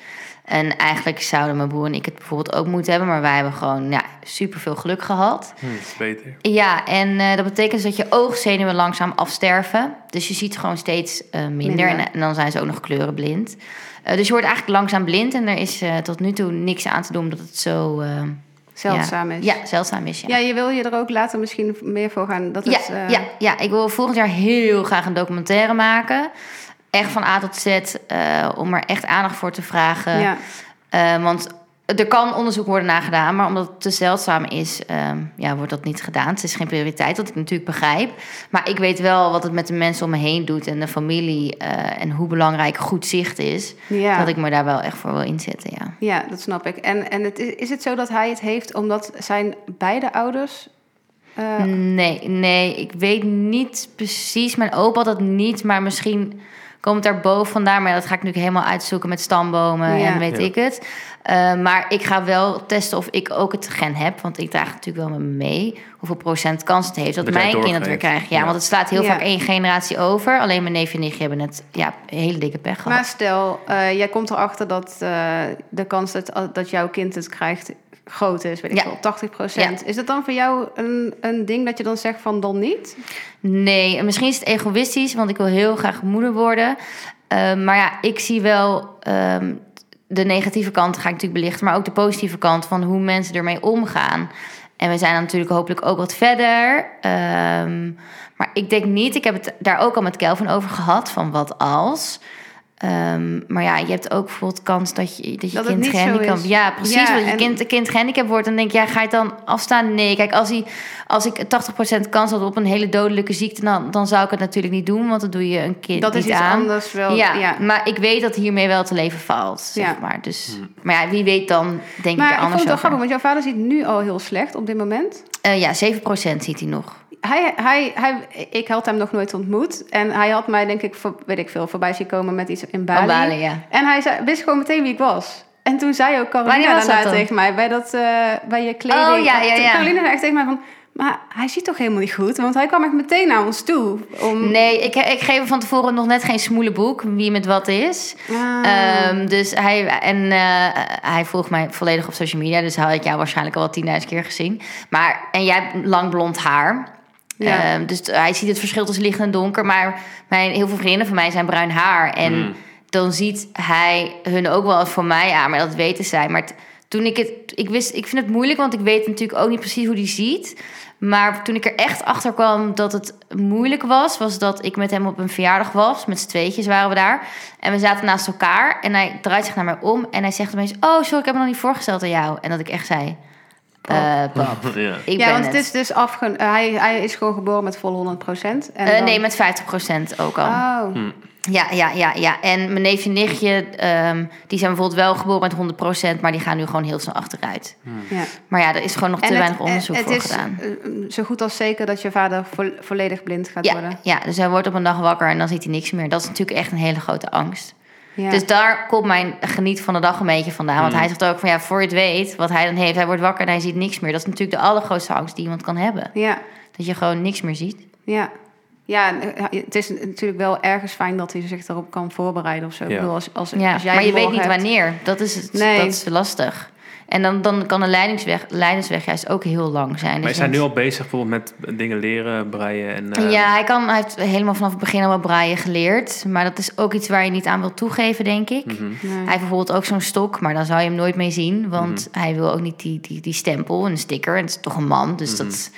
En eigenlijk zouden mijn broer en ik het bijvoorbeeld ook moeten hebben, maar wij hebben gewoon ja, superveel geluk gehad.
Hm, dat is beter.
Ja, en eh, dat betekent dus dat je oogzenuwen langzaam afsterven. Dus je ziet gewoon steeds eh, minder.
Minder.
En, en dan zijn ze ook nog kleurenblind. Eh, dus je wordt eigenlijk langzaam blind. En er is eh, tot nu toe niks aan te doen omdat het zo... eh,
Zeldzaam
ja,
is.
Ja, zeldzaam is,
Ja,
ja.
je wil je er ook later misschien meer voor gaan. Dat
Ja,
is, eh,
ja, ja, ik wil volgend jaar heel graag een documentaire maken. Echt van A tot Z, eh, om er echt aandacht voor te vragen.
ja.
Eh, want er kan onderzoek worden nagedaan, maar omdat het te zeldzaam is, ehm, ja, wordt dat niet gedaan. Het is geen prioriteit, wat ik natuurlijk begrijp. Maar ik weet wel wat het met de mensen om me heen doet en de familie eh, en hoe belangrijk goed zicht is.
Ja.
Eh, Dat ik me daar wel echt voor wil inzetten, ja.
ja, dat snap ik. En, en het, is- is het zo dat hij het heeft omdat zijn beide ouders... eh,
Nee, nee, ik weet niet precies. Mijn opa had dat niet, maar misschien komt het daar boven vandaan. Maar dat ga ik nu helemaal uitzoeken met stambomen
Ja.
en weet
Ja.
ik het. Eh, maar ik ga wel testen of ik ook het gen heb. Want ik draag natuurlijk wel met me mee hoeveel procent kans het heeft dat
Dat jij
mijn
het
kinderen het weer
doorgeeft.
krijgen. Ja,
Ja.
want het slaat heel
Ja.
vaak één generatie over. Alleen mijn neef en nichtje hebben het ja, hele dikke pech gehad.
Maar stel, eh, jij komt erachter dat eh, de kans dat, dat jouw kind het krijgt groot is, weet ik
Ja.
wel, 80 Is dat dan voor jou een, een ding dat je dan zegt van dan niet?
Nee, en misschien is het egoïstisch, want ik wil heel graag moeder worden. Ehm, maar ja, ik zie wel ehm, de negatieve kant, ga ik natuurlijk belichten, maar ook de positieve kant van hoe mensen ermee omgaan. En we zijn dan natuurlijk hopelijk ook wat verder. Ehm, maar ik denk niet, ik heb het daar ook al met Kelvin over gehad, van wat als. Ehm, maar ja, je hebt ook bijvoorbeeld kans dat je, dat je
Dat het
kind
niet zo
gehandicapt...
is.
Ja, precies,
Ja,
dat je
en-
kind, kind gehandicapt wordt. En denk ja, ga je het dan afstaan? Nee, kijk, als hij als ik 80% kans had op een hele dodelijke ziekte, dan, dan zou ik het natuurlijk niet doen, want dan doe je een kind
dat is
niet
iets
aan.
anders wel.
ja,
Ja.
maar ik weet dat hiermee wel te leven valt, zeg
Ja.
maar. Dus, maar ja, wie weet dan, denk
Maar
ik
ik
er
vond
anders
het wel
over.
grappig, want jouw vader ziet nu al heel slecht op dit moment.
Eh, ja, 7% ziet hij nog.
Hij, hij, hij, ik had hem nog nooit ontmoet. En hij had mij, denk ik, voor, weet ik veel, voorbij zien komen met iets in Bali.
Van Balen, ja.
En hij zei, wist gewoon meteen wie ik was. En toen zei ook
Wanneer
Carolina
was dat
daarna
dan?
tegen mij, bij, dat, eh, bij je kleding.
Oh, ja, ja,
Toen-
ja.
Carolina zei echt tegen mij van, maar hij ziet toch helemaal niet goed? Want hij kwam echt meteen naar ons toe. Om...
Nee, ik, ik geef hem van tevoren nog net geen smoele boek, wie met wat is.
Ah.
Ehm, dus hij, en, eh, hij volgt mij volledig op social media. Dus had ik jou waarschijnlijk al wel 10.000 keer gezien. Maar, en jij hebt lang blond haar.
Ja.
Ehm, dus t- hij ziet het verschil tussen licht en donker. Maar mijn, heel veel vriendinnen van mij zijn bruin haar. En dan ziet hij hun ook wel voor mij aan. Maar dat weten zij. Maar t- toen ik het... Ik, wist, ik vind het moeilijk, want ik weet natuurlijk ook niet precies hoe die ziet. Maar toen ik er echt achter kwam dat het moeilijk was... was dat ik met hem op een verjaardag was. Met z'n tweetjes waren we daar. En we zaten naast elkaar. En hij draait zich naar mij om. En hij zegt opeens... Oh, sorry, ik heb me nog niet voorgesteld aan jou. En dat ik echt zei... eh, pap,
Ja.
ik
ja,
ben
want
het.
het is dus afge... eh, hij, hij is gewoon geboren met vol 100 procent.
Eh, nee, met 50% ook al.
Oh,
Ja, ja, ja, ja. En mijn neefje en nichtje, ehm, die zijn bijvoorbeeld wel geboren met 100%, maar die gaan nu gewoon heel snel achteruit.
ja.
Maar ja, er is gewoon nog te
En het-
weinig onderzoek
eh, het
voor
is
gedaan.
eh, zo goed als zeker dat je vader vo- volledig blind gaat
Ja,
worden.
ja, dus hij wordt op een dag wakker en dan ziet hij niks meer. Dat is natuurlijk echt een hele grote angst.
Ja.
Dus daar komt mijn geniet van de dag een beetje vandaan. Want hij zegt ook van ja, voor je het weet, wat hij dan heeft, hij wordt wakker en hij ziet niks meer. Dat is natuurlijk de allergrootste angst die iemand kan hebben.
ja.
Dat je gewoon niks meer ziet.
Ja. Ja, eh, het is natuurlijk wel ergens fijn dat hij zich daarop kan voorbereiden of zo. Ik
Ja.
bedoel, als, als,
Ja,
als jij
maar je weet
morgen
niet
hebt-
wanneer. Dat is, het,
Nee.
dat is lastig. En dan, dan kan een leidingsweg, leidersweg juist ook heel lang zijn.
Maar
Dus
is hij
dat-
nu al bezig bijvoorbeeld met dingen leren, breien en... eh,
Ja, hij, kan, hij heeft helemaal vanaf het begin al wat braaien geleerd. Maar dat is ook iets waar je niet aan wil toegeven, denk ik.
mhm.
Nee.
Hij heeft bijvoorbeeld ook zo'n stok, maar dan zou je hem nooit mee zien. Want
Mhm.
hij wil ook niet die, die, die stempel en een sticker. En het is toch een man, dus
Mhm.
dat is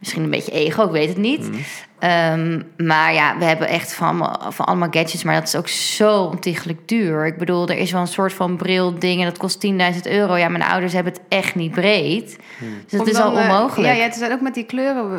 misschien een beetje ego, ik weet het niet. Ehm, maar ja, we hebben echt van, allemaal- van allemaal gadgets, maar dat is ook zo ontiegelijk duur. Ik bedoel, er is wel een soort van bril ding en dat kost 10.000 euro. Ja, mijn ouders hebben het echt niet breed.
Mhm.
Dus
Om
het is al
dan, eh,
onmogelijk.
Ja, ja, het zijn ook met die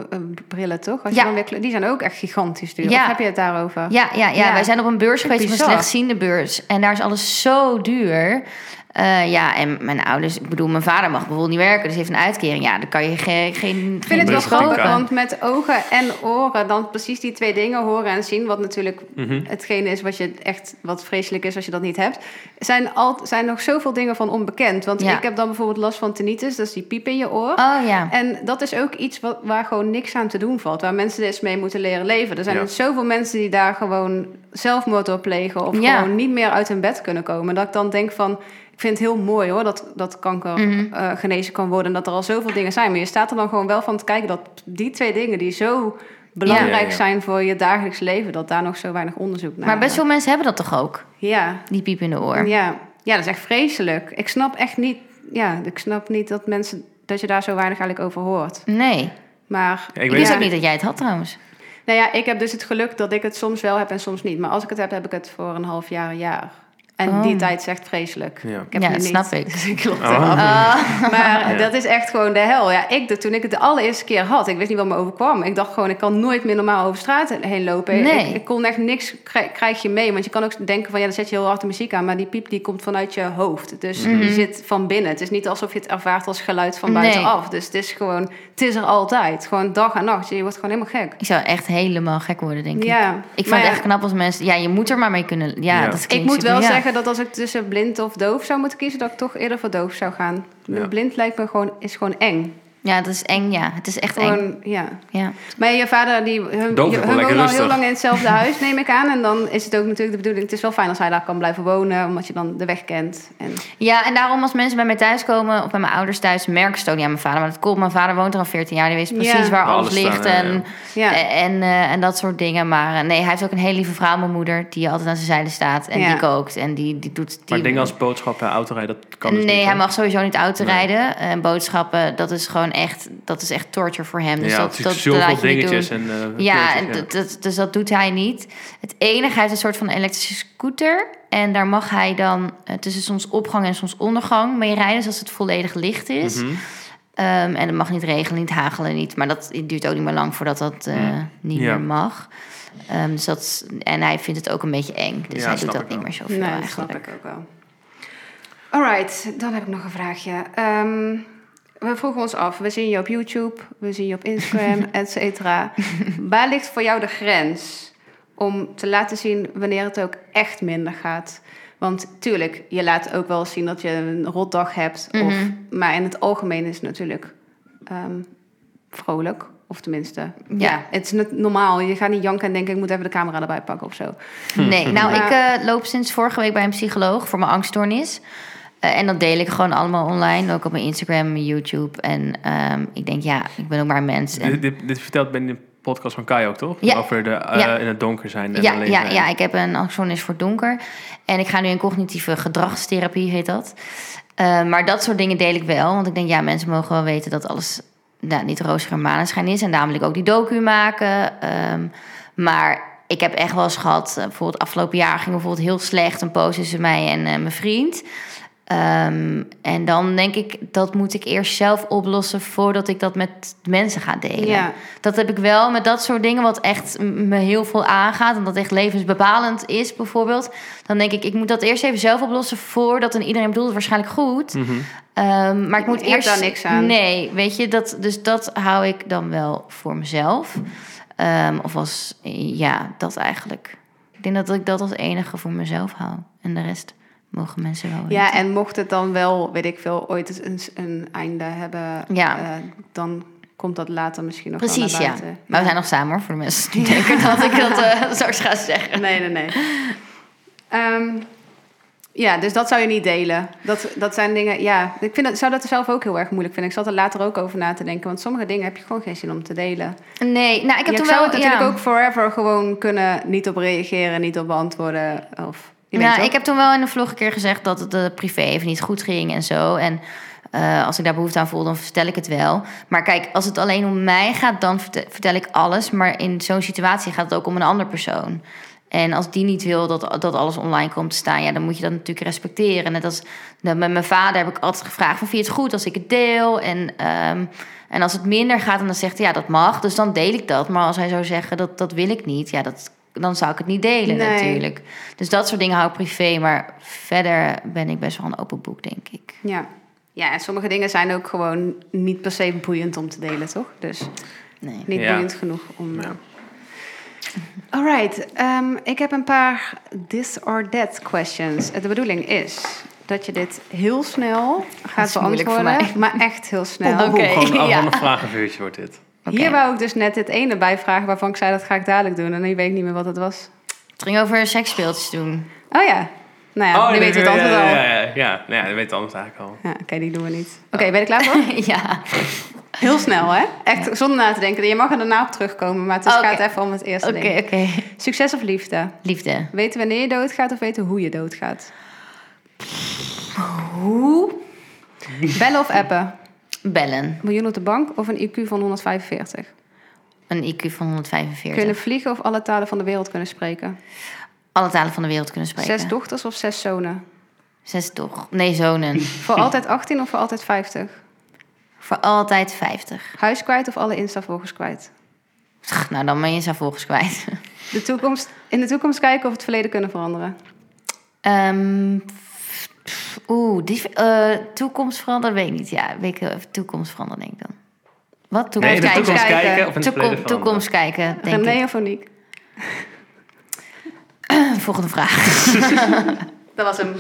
kleurenbrillen, toch? Als
Ja.
je dan weer kleur- die zijn ook echt gigantisch duur.
Ja.
Of heb je het daarover?
Ja, ja, ja.
Ja.
wij zijn op een beurs geweest, op een
Bizar.
slechtziende beurs. En daar is alles zo duur. Eh, ja, en mijn ouders, ik bedoel, mijn vader mag bijvoorbeeld niet werken, dus heeft een uitkering. Ja, dan kan je geen. geen
Ik vind het wel
Beetje
grappig,
koken.
want met ogen en oren dan precies die twee dingen horen en zien, wat natuurlijk
Mhm.
hetgene is wat je echt wat vreselijk is als je dat niet hebt, zijn, al, zijn nog zoveel dingen van onbekend. Want
Ja.
ik heb dan bijvoorbeeld last van tinnitus, dat is die piep in je oor.
Oh ja.
En dat is ook iets wat, waar gewoon niks aan te doen valt. Waar mensen dus mee moeten leren leven. Er zijn
Ja.
zoveel mensen die daar gewoon zelfmoord door plegen. Of
Ja.
gewoon niet meer uit hun bed kunnen komen. Dat ik dan denk van, ik vind het heel mooi hoor. Dat, dat kanker
Mhm.
eh, genezen kan worden. En dat er al zoveel dingen zijn. Maar je staat er dan gewoon wel van te kijken dat die twee dingen die zo belangrijk
Ja, ja, ja.
zijn voor je dagelijks leven. Dat daar nog zo weinig onderzoek naar
Maar best veel mensen hebben dat toch ook?
Ja,
Die piep in de oor.
ja. ja, dat is echt vreselijk. Ik snap echt niet, ja, ik snap niet dat mensen... Dat je daar zo weinig eigenlijk over hoort.
Nee.
Maar
Ja,
Ik
ik
wist
weet
Ja.
ook niet dat jij het had trouwens.
Nou ja, ik heb dus het geluk dat ik het soms wel heb en soms niet. Maar als ik het heb, heb ik het voor een half jaar, een jaar. En
Oh.
die tijd is echt vreselijk.
Ja.
Ik heb
Ja,
nu
dat
niet.
snap ik.
Dus ik klop
Oh.
eraf. Maar
Ja.
dat is echt gewoon de hel. Ja, ik, toen ik het de allereerste keer had, ik wist niet wat me overkwam. Ik dacht gewoon, ik kan nooit meer normaal over straat heen lopen.
Nee.
Ik, ik kon echt niks, krij- krijg je mee. Want je kan ook denken van, ja, dan zet je heel hard de muziek aan. Maar die piep, die komt vanuit je hoofd. Dus die zit van binnen. Het is niet alsof je het ervaart als geluid van
Mhm. Nee.
buitenaf. Dus het is gewoon, het is er altijd. Gewoon dag en nacht. Je wordt gewoon helemaal gek.
Ik zou echt helemaal gek worden, denk ik.
Ja,
Ik vind
maar
het
ja,
echt knap als mensen... Ja, je moet er maar mee kunnen... Ja,
Ja.
dat
Ik
klinkt
moet
super-
wel
ja.
zeggen dat als ik tussen blind of doof zou moeten kiezen, dat ik toch eerder voor doof zou gaan.
Ja.
Blind lijkt me gewoon, is gewoon eng.
Ja, dat is eng, ja. Het is echt eng.
Gewoon, ja.
Ja.
Maar je vader, die, hun,
Doof is
je-
wel
hun wonen al
lekker
heel
rustig.
lang in hetzelfde huis, neem ik aan. En dan is het ook natuurlijk de bedoeling, het is wel fijn als hij daar kan blijven wonen, omdat je dan de weg kent. En,
Ja, en daarom als mensen bij mij thuis komen of bij mijn ouders thuis, merken ze het ook niet aan mijn vader. Maar dat komt, mijn vader woont er al 14 jaar, die weet precies
Ja.
waar
Waar
alles
alles
ligt
staan, ja,
en,
ja.
En, eh, en dat soort dingen. Maar eh, nee, hij heeft ook een hele lieve vrouw, mijn moeder, die altijd aan zijn zijde staat en
Ja.
die kookt en die, die doet... Die,
Maar ik denk als boodschap en autorijden, dat kan dus
nee,
niet,
hij
hè?
mag sowieso niet auto
Nee.
rijden. En boodschappen, dat is gewoon echt, dat is echt torture voor hem. Dus
ja, het
dat,
is
dat, dat laat
zoveel
je niet doen.
dingetjes en... eh,
Ja,
kleurtjes,
en dat, dat- dus dat doet hij niet. Het enige, hij heeft een soort van elektrische scooter. En daar mag hij dan eh, tussen soms opgang en soms ondergang mee rijden. Dus als het volledig licht is.
Mhm.
Ehm, en het mag niet regenen, niet hagelen, niet. Maar dat duurt ook niet meer lang voordat dat eh, niet
Mhm. Ja.
meer mag. Ehm, dus dat, is- en hij vindt het ook een beetje eng. Dus
Ja,
hij doet
snap
dat
ik
niet
wel.
meer zoveel
nee, dat snap
eigenlijk.
ik ook wel. Alright, dan heb ik nog een vraagje. Ehm, we vroegen ons af, we zien je op YouTube, we zien je op Instagram, et cetera. Waar ligt voor jou de grens om te laten zien wanneer het ook echt minder gaat? Want tuurlijk, je laat ook wel zien dat je een rotdag hebt. of,
Mhm.
maar in het algemeen is het natuurlijk ehm, vrolijk. Of tenminste, ja. het is net normaal. Je gaat niet janken en denken, ik moet even de camera erbij pakken of zo.
Nee, nou,
Maar-
ik eh, loop sinds vorige week bij een psycholoog voor mijn angststoornis. Eh, en dat deel ik gewoon allemaal online, ook op mijn Instagram, mijn YouTube. En ehm, ik denk, ja, ik ben ook maar een mens. En-
Dit, dit, dit vertelt bij de podcast van Kai ook, toch?
Ja.
Over de, eh,
Ja.
in het donker zijn en
ja,
alleen
ja,
zijn.
ja, ik heb een angststoornis voor donker. En ik ga nu in cognitieve gedragstherapie, heet dat. Eh, maar dat soort dingen deel ik wel. Want ik denk, ja, mensen mogen wel weten dat alles nou, niet roosgeur en maneschijn is. En daarom wil ik ook die docu maken. Ehm, maar ik heb echt wel eens gehad... eh, bijvoorbeeld afgelopen jaar ging het bijvoorbeeld heel slecht... een poos tussen mij en eh, mijn vriend... Ehm, en dan denk ik, dat moet ik eerst zelf oplossen voordat ik dat met mensen ga delen.
Ja.
Dat heb ik wel met dat soort dingen, wat echt m- me heel veel aangaat. En dat echt levensbepalend is, bijvoorbeeld. Dan denk ik, ik moet dat eerst even zelf oplossen voordat en iedereen bedoelt het waarschijnlijk goed.
Mhm.
Ehm, maar ik moet
Je hebt
eerst.
daar niks aan.
Nee, weet je, dat, dus dat hou ik dan wel voor mezelf. Ehm, of als, ja, dat eigenlijk. Ik denk dat ik dat als enige voor mezelf hou. En de rest mogen mensen wel.
Ja,
weten.
en mocht het dan wel, weet ik veel, ooit eens een, een einde hebben,
Ja.
eh, dan komt dat later misschien nog wel
Precies,
naar
ja.
buiten.
Maar we zijn nog samen hoor, voor de mensen die denken dat ik dat eh, straks ga zeggen.
Nee, nee, nee. Ehm, Ja, dus dat zou je niet delen. Dat, dat zijn dingen, ja. Ik vind dat, zou dat zelf ook heel erg moeilijk vinden. Ik zat er later ook over na te denken. Want sommige dingen heb je gewoon geen zin om te delen.
Nee, nou, ik heb
Ja,
toen
zou
wel...
het natuurlijk
ja.
ook forever gewoon kunnen niet op reageren, niet op beantwoorden. Of, je weet
Nou,
toch?
ik heb toen wel in de vlog een keer gezegd dat het eh, privé even niet goed ging en zo. En eh, als ik daar behoefte aan voel, dan vertel ik het wel. Maar kijk, als het alleen om mij gaat, dan verte- vertel ik alles. Maar in zo'n situatie gaat het ook om een ander persoon. En als die niet wil dat, dat alles online komt te staan, ja, dan moet je dat natuurlijk respecteren. Net als net met mijn vader heb ik altijd gevraagd: van, vind je het goed als ik het deel? En, ehm, en als het minder gaat, en dan zegt hij ja, dat mag. Dus dan deel ik dat. Maar als hij zou zeggen dat dat wil ik niet, ja, dat, dan zou ik het niet delen
Nee.
natuurlijk. Dus dat soort dingen hou ik privé. Maar verder ben ik best wel een open boek, denk ik.
Ja. ja, en sommige dingen zijn ook gewoon niet per se boeiend om te delen, toch? Dus
Nee.
niet
Ja.
boeiend genoeg om...
Ja.
All right, ehm, ik heb een paar this or that questions. De bedoeling is dat je dit heel snel gaat
is moeilijk voor
beantwoorden. Maar echt heel snel.
Oké,
Oké. Gewoon
ja.
ja. een vragenvuurtje wordt dit.
oh. Oké.
Hier wou ik dus net dit ene bijvragen waarvan ik zei dat ga ik dadelijk doen. En nu weet ik niet meer wat het was.
Het ging over seksspeeltjes doen.
Oh ja, nou ja, nu
Oh, nee,
weet je het
ja,
antwoord al.
ja,
Ja,
Ja, ja, ja. Nou ja, dat weet het antwoord eigenlijk al.
oké, die doen we niet. Oké, ben je er klaar voor?
ja.
Heel snel, hè? Echt zonder na te denken. Je mag er daarna op terugkomen, maar het is-
Oké.
gaat even om het eerste
Oké,
ding.
oké.
Succes of liefde?
Liefde.
Weten wanneer je doodgaat of weten hoe je doodgaat?
Hoe?
Bellen of appen?
Bellen.
Miljoen op de bank of een IQ van 145?
Een IQ van 145.
Kunnen vliegen of alle talen van de wereld kunnen spreken?
Alle talen van de wereld kunnen spreken.
Zes dochters of zes zonen?
Zes toch? Nee, zonen.
Voor altijd 18 of voor altijd 50?
Voor altijd 50.
Huis kwijt of alle Insta-volgers kwijt?
Pff, Nou, dan ben je ze volgens kwijt.
De toekomst, in de toekomst kijken of het verleden kunnen veranderen?
Ehm, pff, pff, Oeh, die, eh, toekomst veranderen? Weet ik niet. Ja, weet ik, wel. toekomst veranderen denk ik dan. Wat?
Nee,
Toekomst
in de
kijken?
toekomst
kijken.
kijken, of in het
Toekom-
verleden veranderen.
toekomst kijken, denk
René
ik.
of Oniek?
Volgende vraag.
Dat was hem.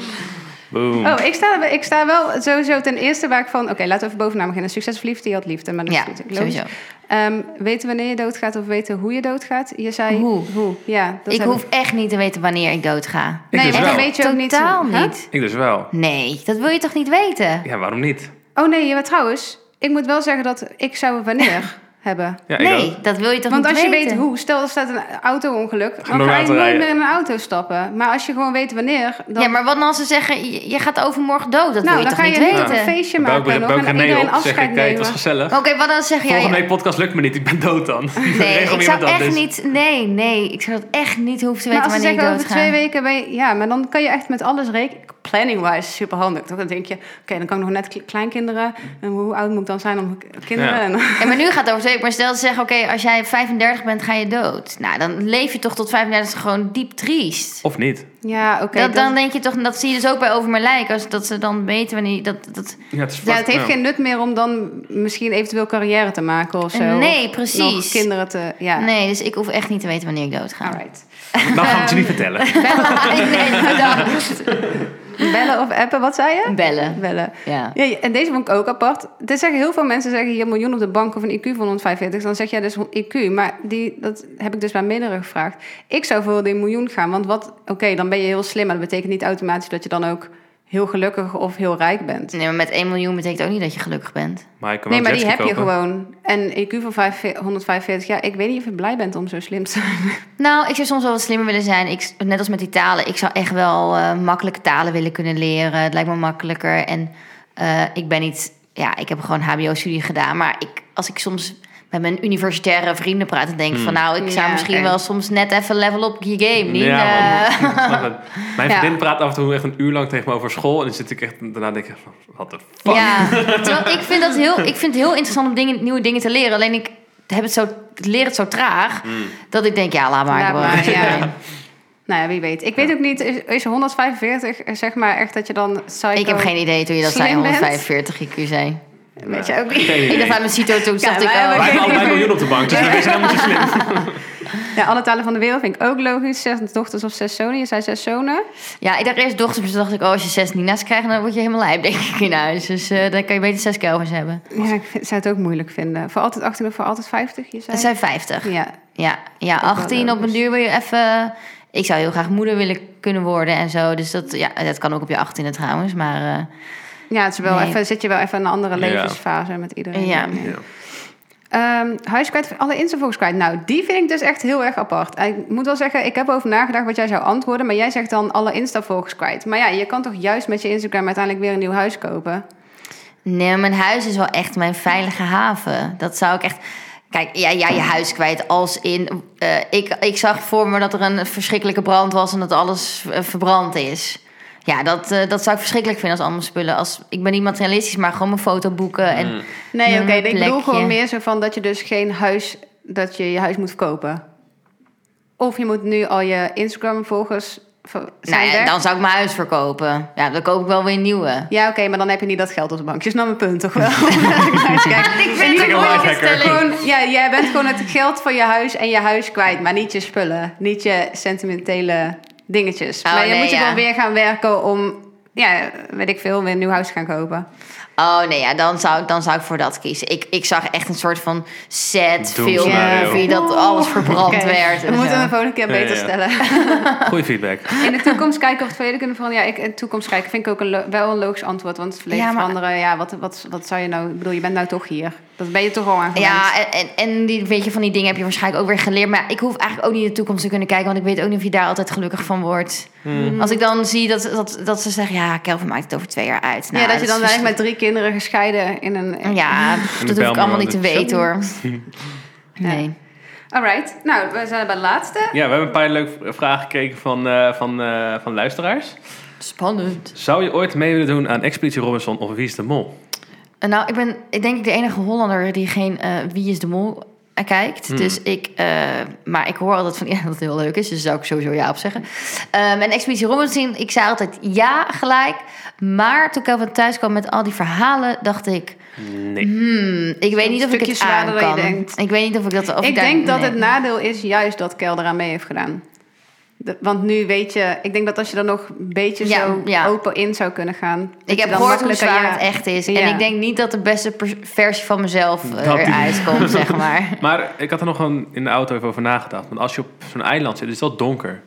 Boom.
Oh, ik sta, ik sta wel sowieso ten eerste waar ik van... Oké, laten we even bovenaan beginnen. Succes of liefde, je had liefde. Maar dat
Ja,
is natuurlijk logisch.
sowieso.
Ehm, weten wanneer je doodgaat of weten hoe je doodgaat? Je zei...
Hoe.
Ja, dat
Ik
heb
hoef echt niet te weten wanneer ik doodga.
Ik
Nee,
dus
want
wel.
dan weet je ook niet...
Totaal
Huh?
niet.
Ik dus wel.
Nee, dat wil je toch niet weten?
Ja, waarom niet?
Oh nee, maar trouwens... Ik moet wel zeggen dat ik zou wanneer hebben.
Ja, ik ook.
nee, dat wil je toch
Want
niet
als je
weten?
weet hoe, stel er staat een auto-ongeluk, dan
Gewoon
ga je
auto
nooit
rijden.
meer in een auto stappen. Maar als je gewoon weet wanneer, dan,
Ja, maar wat nou als ze zeggen, je, je gaat overmorgen dood? Dat
nou,
wil je
dan
toch
ga
niet
je niet
weten?
een feestje
Bouw ik
maken nog,
bouw
en
ik
dan
René
iedereen
op, zeg
afscheid
ik, kijk, het
nemen.
was gezellig.
Oké, wat dan zeg jij...
Volgende week podcast lukt me niet, ik ben dood dan.
Oh, Nee,
Regel
ik
me
zou
iemand
echt
anders.
niet... Nee, nee, ik zou dat echt niet hoeven te
Maar
weten
Nou, als ze
wanneer ik
zeggen over
doodga.
twee weken ben je... Ja, maar dan kan je echt met alles rekenen. Planning-wise super handig, toch? Dan denk je, oké, dan kan ik nog net kle- kleinkinderen. En hoe oud moet ik dan zijn om k- kinderen?
Ja.
En,
Ja, maar nu gaat het over twee weken. Maar stel ze zeggen, oké, als jij 35 bent, ga je dood. Nou, dan leef je toch tot 35 gewoon diep triest.
Of niet.
ja, oké.
dat,
dat-
dan denk je toch, en dat zie je dus ook bij Over Mijn Lijk. Als, dat ze dan weten wanneer... Dat, dat,
Ja, het, is
ja,
vast- nou,
het heeft
ja.
geen nut meer om dan misschien eventueel carrière te maken of zo.
Nee,
Of
precies.
nog kinderen te... Ja,
Nee, dus ik hoef echt niet te weten wanneer ik dood ga.
alright.
Nou gaan we het je niet vertellen.
nee, bedankt.
Bellen of appen, wat zei je?
Bellen.
Bellen.
Ja.
Ja, en deze vond ik ook apart. Er zeggen heel veel mensen zeggen hier miljoen op de bank of een IQ van 145. Dan zeg jij dus IQ. Maar die, dat heb ik dus bij meerdere gevraagd. Ik zou voor die miljoen gaan. Want wat, oké, dan ben je heel slim. Maar dat betekent niet automatisch dat je dan ook heel gelukkig of heel rijk bent.
Nee, maar met 1 miljoen betekent ook niet dat je gelukkig bent.
Maar ik kan
Nee,
wel
maar
een
die
jetski
heb je
kopen.
gewoon. En IQ van 45 145, ja, ik weet niet of je blij bent om zo slim te zijn.
Nou, ik zou soms wel wat slimmer willen zijn. Ik, net als met die talen. Ik zou echt wel eh, makkelijke talen willen kunnen leren. Het lijkt me makkelijker. En eh, ik ben niet... Ja, ik heb gewoon hbo-studie gedaan. Maar ik, als ik soms met mijn universitaire vrienden praat... dan denk ik
Hmm.
van nou, ik zou
Ja,
misschien
oké.
wel soms net even level op je game. Niet,
Ja,
eh,
man. Ik snap het. Mijn
Ja.
vriendin praat af en toe echt een uur lang tegen me over school. En dan zit ik echt daarna denk ik van, wat de fuck.
Ja, terwijl ik vind, dat heel, ik vind het heel interessant om dingen, nieuwe dingen te leren. Alleen ik, heb het zo, ik leer het zo traag
Hmm.
dat ik denk, ja, laat maar.
Laat
ik wil-
maar, ja.
Nee.
Nou ja, wie weet. Ik weet ook niet, is, is 145 eh, zeg maar echt dat je dan psycho...
Ik heb geen idee toen je dat zei,
Slim bent.
145 IQ zei.
Weet je ook niet.
Geen idee.
Ik dacht aan mijn CITO toen,
Ja,
dacht ik
wij
al.
hebben
Wij hebben allebei een miljoen op de bank, dus we zijn helemaal niet zo slim.
Ja, alle talen van de wereld vind ik ook logisch. Zes dochters of zes zonen. Je zei zes zonen.
Ja, ik dacht eerst dochters, maar toen dacht ik, oh, als je zes Nina's krijgt, dan word je helemaal lijp, denk ik, in huis. Dus eh, dan kan je beter zes Kelvins hebben.
Ja, ik vind- zou het ook moeilijk vinden. Voor altijd 18 of voor altijd 50, je
Dat
zei?
zijn 50.
Ja,
Ja, ja
wel
18 op een
logisch.
duur wil je even ik zou heel graag moeder willen kunnen worden en zo. Dus dat, ja, dat kan ook op je achttiende trouwens. Maar eh,
Ja, het is wel
Nee.
even, zit je wel even in een andere
Ja.
levensfase met iedereen.
Ja.
Ja.
Ehm, huis kwijt of alle insta-volgers kwijt. Nou, die vind ik dus echt heel erg apart. En ik moet wel zeggen, ik heb over nagedacht wat jij zou antwoorden. Maar jij zegt dan alle insta-volgers kwijt. Maar ja, je kan toch juist met je Instagram uiteindelijk weer een nieuw huis kopen?
nee, mijn huis is wel echt mijn veilige haven. Dat zou ik echt... Kijk, ja, ja je huis kwijt als in... eh, ik, ik zag voor me dat er een verschrikkelijke brand was en dat alles eh, verbrand is. Ja, dat, eh, dat zou ik verschrikkelijk vinden als allemaal spullen. Als, ik ben niet materialistisch, maar gewoon mijn fotoboeken en... Nou
Mm.
Nee,
Een
oké. ik bedoel
plekje.
gewoon meer zo van dat je dus geen huis, dat je je huis moet verkopen. Of je moet nu al je Instagram-volgers ver- zijn
Nou ja,
weg.
dan zou ik mijn huis verkopen. Ja, dan koop ik wel weer een nieuwe.
Ja, oké, maar dan heb je niet dat geld op de bank. Je snapt mijn punt, toch wel?
ik
het een mooie stelling.
gewoon, ja, jij bent gewoon het geld van je huis en je huis kwijt, maar niet je spullen, niet je sentimentele dingetjes.
Oh,
maar je
nee,
moet je
ja.
gewoon weer gaan werken om, ja, weet ik veel, weer een nieuw huis te gaan kopen.
Oh nee, ja, dan, zou, ik- dan zou ik voor dat kiezen. Ik, ik zag echt een soort van set,
Doemscenario.
film, movie, dat alles verbrand
Oké,
werd.
We
En
moeten
zo.
hem de volgende keer
Ja, ja,
beter
ja.
stellen.
Goeie feedback.
In de toekomst kijken of het verleden kunnen veranderen. Ja, ik, in de toekomst kijken vind ik ook een lo- wel een logisch antwoord. Want het verleden
Ja, maar-
veranderen, ja, wat, wat, wat zou je nou... Ik bedoel, je bent nou toch hier. Dat ben je toch al aan gewend.
Ja, en, en, en die, weet je, van die dingen heb je waarschijnlijk ook weer geleerd. Maar ja, ik hoef eigenlijk ook niet in de toekomst te kunnen kijken. Want ik weet ook niet of je daar altijd gelukkig van wordt. Als ik dan zie dat, dat, dat ze zeggen... Ja, Kelvin maakt het over twee jaar uit. Nou,
ja, dat je
is
dan eigenlijk met drie kinderen gescheiden in een...
verschrikkelijk. Ja, dat hoef ik
Bijlmer
allemaal niet te
woont.
weten hoor. Nee.
Alright, nou, we zijn bij de laatste.
Ja, we hebben een paar leuke vragen gekregen van, eh, van, eh, van luisteraars.
Spannend.
Zou je ooit mee willen doen aan Expeditie Robinson of Wie is de Mol?
Eh, Nou, ik ben ik denk ik de enige Hollander die geen eh, Wie is de Mol eh, kijkt.
Hmm.
Dus ik, eh, maar ik hoor altijd van ja, dat het heel leuk is. Dus daar zou ik sowieso ja op zeggen. Ehm, en Expeditie Robinson, ik zei altijd ja gelijk. Maar toen Kelvin thuis kwam met al die verhalen, dacht ik...
Nee.
Mhm.
hmm, ik weet niet of ik
stukje
het aan
zwaarder dan
kan.
je denkt.
Ik weet niet of ik dat... Of
ik
daar-
denk dat
nee.
het nou- nadeel is juist dat Kel eraan mee heeft gedaan. De- want nu weet je... Ik denk dat als je er nog een beetje
Ja,
zo
ja.
open in zou kunnen gaan... dat
Ik
je
heb
dan
gehoord hoe
makkelijker-
zwaar
ja.
het echt is. En
Ja.
ik denk niet dat de beste pers- versie van mezelf eh,
Dat-
eruit komt, zeg maar.
Maar ik had er nog een, in de auto even over nagedacht. Want als je op zo'n eiland zit, is dat donker.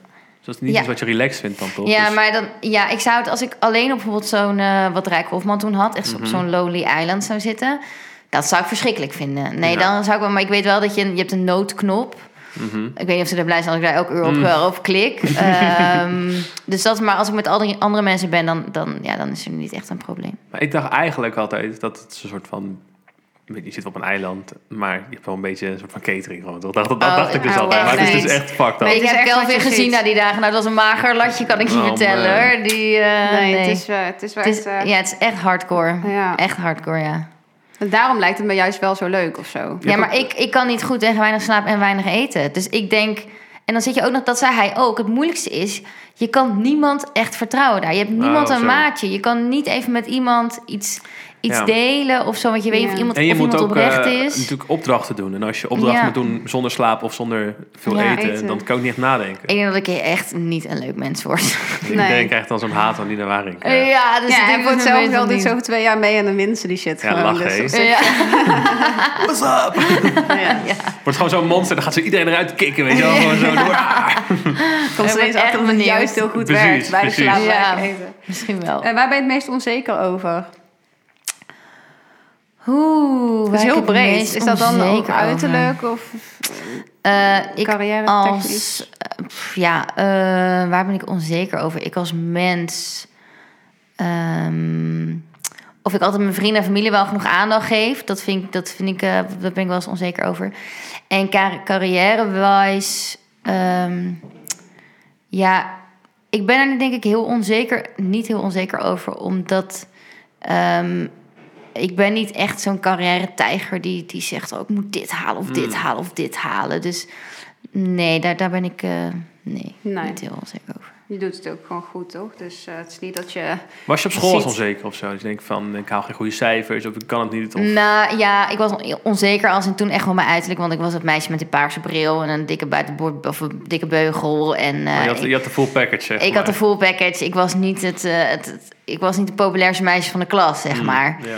Dus dat is niet
Ja.
iets wat je relaxed vindt dan toch?
Ja,
Dus-
maar dan, ja, ik zou het als ik alleen op bijvoorbeeld zo'n, eh, wat Rijk Hofman toen had, echt
Mhm.
op zo'n lonely island zou zitten, dat zou ik verschrikkelijk vinden. Nee,
Ja.
dan zou ik wel, maar ik weet wel dat je, je hebt een noodknop.
Mhm.
Ik weet niet of ze er blij zijn als ik daar elke uur
Mm.
op, eh, op klik. Ehm, dus dat, maar als ik met al die andere mensen ben, dan, dan, ja, dan is er niet echt een probleem.
Maar ik dacht eigenlijk altijd dat het een soort van... ik weet niet, Je zit op een eiland, maar je hebt wel een beetje een soort van catering. Gewoon. Dat, dat, dat
Oh,
dacht ik dus
oh,
altijd. Maar het is
nee.
dus echt fucked
Nee,
up.
het
ik
is
heb
echt
wel
wat
weer
je
gezien
ziet.
na die dagen. Nou, dat was een mager latje, kan ik je
Oh,
vertellen
man.
hoor. Die, eh,
Nee,
nee,
Het, is, eh, het is wel
Het is-
echt... eh,
ja, het is echt hardcore.
Ja.
Echt hardcore, ja.
En daarom lijkt het me juist wel zo leuk of zo.
Je
Ja,
hebt
maar ik, ik kan niet goed tegen weinig slaap en weinig eten. Dus ik denk... En dan zit je ook nog, dat zei hij ook, het moeilijkste is... je kan niemand echt vertrouwen daar. Je hebt niemand
Oh,
een
zo.
maatje. Je kan niet even met iemand iets, iets
Ja.
delen of zo. Want je weet niet
Ja.
of iemand,
En je
of
moet
iemand
ook
oprecht
eh,
is.
natuurlijk opdrachten doen. En als je opdrachten
Ja.
moet doen zonder slaap of zonder veel
Ja,
eten,
eten.
dan kan ik niet echt nadenken.
Ik denk dat ik echt niet een leuk mens word.
Nee.
Ik denk echt aan zo'n haat aan die naar waar ik.
Ja,
eh,
dus
ja, en
ik denk
voor
dat
hetzelfde
mensen
geld doet
niet-
ze over twee jaar mee en dan winnen ze die shit
Ja,
gewoon.
lachen, hè?
op zich-
Ja.
What's up?
ja.
Wordt gewoon zo'n monster, dan gaat ze iedereen eruit kicken, weet je wel. Gewoon zo door.
Komt
Ik
ze
ben
ineens
echt
achter dat het
benieuwd.
juist heel goed
Precies,
werkt bij de
precies.
slaap
Ja.
eten.
Misschien wel.
En waar ben je het meest onzeker over?
Oeh,
Dat is heel breed. Is dat dan ook uiterlijk of
Eh, ik
carrière technisch?
als eh, pff, ja eh, waar ben ik onzeker over ik als mens ehm, of ik altijd mijn vrienden en familie wel genoeg aandacht geef dat vind ik dat vind ik eh daar ben ik wel eens onzeker over en car carrièrewijs ehm, ja ik ben er denk ik heel onzeker niet heel onzeker over omdat ehm, ik ben niet echt zo'n carrière-tijger die, die zegt... Oh, ik moet dit halen of dit
Hmm.
halen of dit halen. Dus nee, daar, daar ben ik eh, nee,
Nee.
niet heel onzeker over.
Je doet het ook gewoon goed, toch? Dus eh, het is niet dat je...
Was je op school als
Precies.
onzeker of zo? Dus je denkt van, ik haal geen goede cijfers of ik kan het niet. Of...
Nou ja, ik was on- onzeker als in toen echt wel mijn uiterlijk. Want ik was het meisje met die paarse bril en een dikke buitenboord of een dikke beugel. En, eh,
Oh, je, had,
ik,
je had de full package, zeg
ik had de
maar.
full
Hmm.
package. Ik was niet het, eh, het, het- ik was niet het populairste meisje van de klas, zeg maar.
Ja.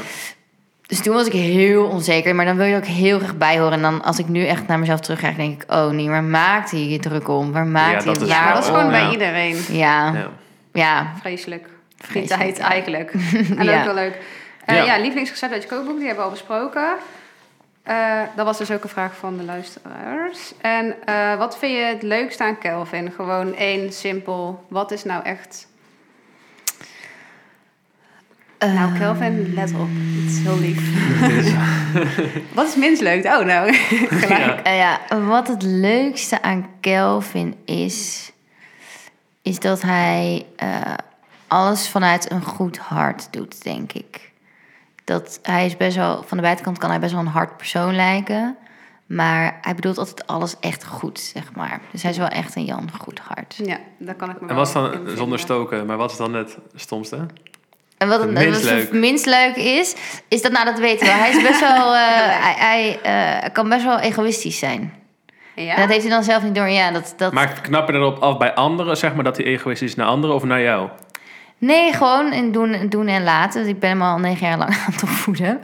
Dus toen was ik heel onzeker, maar dan wil je er ook heel graag bij horen. En dan als ik nu echt naar mezelf terugkijk, denk ik... oh nee, waar maakt hij je druk om? Waar
Ja,
maakt hij
dat
het
is
Ja,
waar
dat is
Oh,
gewoon
om?
bij
ja.
iedereen.
Ja,
Ja.
ja.
Vreselijk. Die
Vreselijk,
tijd eigenlijk. En
Ja.
ook wel leuk. Eh,
Ja.
ja, lievelingsrecept uit je kookboek, die hebben we al besproken. Eh, dat was dus ook een vraag van de luisteraars. En eh, wat vind je het leukste aan Kelvin? Gewoon één simpel. Wat is nou echt...
Ehm.
nou, Kelvin, let op. Het is heel lief. Wat is minst leuk? Oh, nou. gelijk.
Ja.
Eh, ja, wat het leukste aan Kelvin is, is dat hij eh, alles vanuit een goed hart doet, denk ik. Dat hij is best wel, van de buitenkant kan hij best wel een hard persoon lijken. Maar hij bedoelt altijd alles echt goed, zeg maar. Dus hij is wel echt een Jan goed hart.
Ja, daar kan ik me
En
wel
was
in
dan,
vinden.
zonder stoken, maar wat is dan het stomste?
En wat het
Het minst
wat het
leuk.
minst leuk is, is dat, nou dat weten we. Hij is best wel, eh, hij, hij eh, kan best wel egoïstisch zijn.
Ja?
En Dat heeft hij dan zelf niet door. Ja, dat, dat,
Maakt knappen erop af bij anderen, zeg maar, dat hij egoïstisch is naar anderen of naar jou?
Nee, gewoon in doen, doen en laten. Dus Ik ben hem al negen jaar lang aan het opvoeden.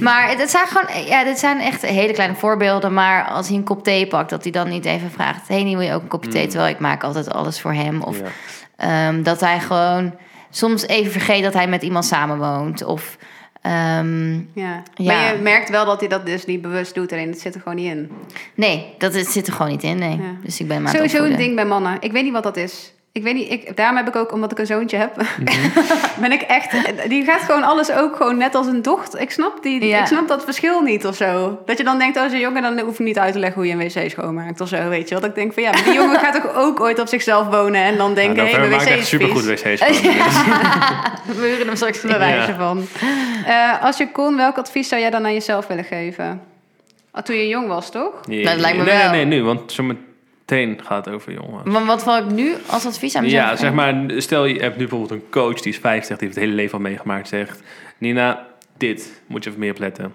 maar het, het zijn gewoon, ja, dit zijn echt hele kleine voorbeelden. Maar als hij een kop thee pakt, dat hij dan niet even vraagt: Hé, hey, wil je ook een kopje thee? Terwijl ik maak altijd alles voor hem. Of
Hmm. Ja.
ehm, dat hij gewoon soms even vergeet dat hij met iemand samenwoont. Of ehm,
Ja.
Ja.
Maar je merkt wel dat hij dat dus niet bewust doet. Alleen het zit er gewoon niet in.
nee, dat is, zit er gewoon niet in. Nee.
Ja.
Dus ik ben hem aan het
Sowieso een
opvoeden.
ding bij mannen. Ik weet niet wat dat is. Ik weet niet, ik, daarom heb ik ook, omdat ik een zoontje heb,
Mhm.
ben ik echt... Die gaat gewoon alles ook gewoon net als een dochter. Ik snap, die,
Ja.
ik snap dat verschil niet of zo. Dat je dan denkt, oh, zo'n jongen, dan hoef je niet uit te leggen hoe je een wc schoonmaakt of zo, weet je wel. Dat ik denk van, ja, maar die jongen gaat toch ook ooit op zichzelf wonen en dan denken,
Nou,
hé,
November
mijn wc
maakt echt
is
supergoed
vies.
wc's. gewoon. Dus
We huren hem straks
Bij wijze
Ja.
van. Eh, als je kon, welk advies zou jij dan aan jezelf willen geven? Ah, Toen je jong was, toch?
Nee,
Nou, dat lijkt me
nee,
wel.
Nee, nee, nu, want zometeen gaat het over jongen.
Maar wat wil ik nu als advies aan mezelf
Ja,
geven?
zeg maar, stel je hebt nu bijvoorbeeld een coach die is 50, die heeft het hele leven al meegemaakt, zegt: Nina, dit moet je even meer op letten.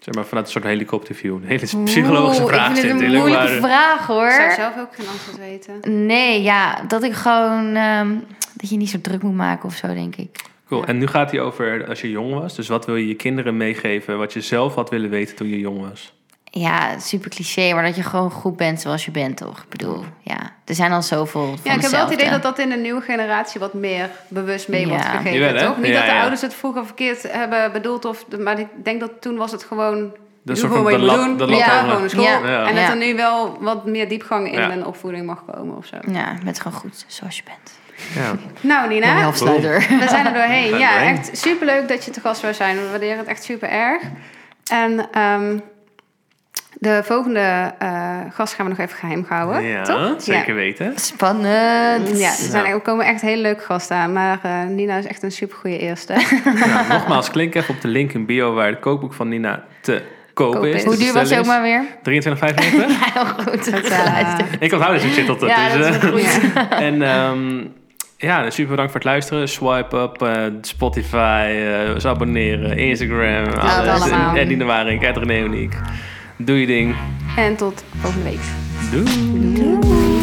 Zeg maar vanuit een soort helikopterview. Een hele psychologische
Oeh,
vraag
Ik
zit
vind het een
natuurlijk,
moeilijke
maar- eh,
vraag hoor.
Ik zou zelf ook geen antwoord weten.
Nee, ja, dat ik gewoon. ehm, dat je niet zo druk moet maken of zo, denk ik.
Cool. En nu gaat hij over als je jong was. Dus wat wil je je kinderen meegeven wat je zelf had willen weten toen je jong was?
Ja, super cliché, maar dat je gewoon goed bent zoals je bent, toch? Ik bedoel, ja. Er zijn al zoveel. Van
Ja, ik heb wel het
hetzelfde.
idee dat dat in de nieuwe generatie wat meer bewust mee wordt
Ja.
gegeven.
Jawel, hè?
toch? Niet
Ja,
dat de
ja.
ouders het vroeger verkeerd hebben bedoeld, of, maar ik denk dat toen was het gewoon.
Dat
doe
soort
gewoon
van
wat
de
je moet
lat-
doen.
de lat
ja,
houden.
gewoon naar school.
Ja.
Ja.
En dat
Ja.
er nu wel wat meer diepgang in
Ja.
een opvoeding mag komen of zo.
Ja, je bent gewoon goed zoals je bent.
Ja.
Nou,
Ja,
Nina,
een afsluiter.
we zijn er doorheen.
zijn
Ja,
doorheen.
echt superleuk dat je te gast zou zijn. We waarderen het echt super erg. En ehm, de volgende eh, gast gaan we nog even geheim houden. toch?
zeker
Ja.
weten.
Spannend.
Ja, er, zijn,
Ja.
er komen echt hele leuke gasten aan. Maar eh, Nina is echt een supergoeie eerste.
Nou, nogmaals, klik even op de link in bio waar het kookboek van Nina te koop
Koop
is. Dus
is.
te
Hoe duur was je ook maar
bestellen
weer?
is. 23,95?
Ja, heel goed.
Dat, eh,
Ik onthoud dit succes tot
Ja, dat is
eh,
wel goed.
ja.
En ehm, ja, dus super bedankt voor het luisteren. Swipe up, eh, Spotify, eh, dus abonneren, Instagram,
het
alles.
allemaal.
En Nina Waring, Ed René Uniek. Doe je ding.
En tot volgende week.
Doei.
Doei.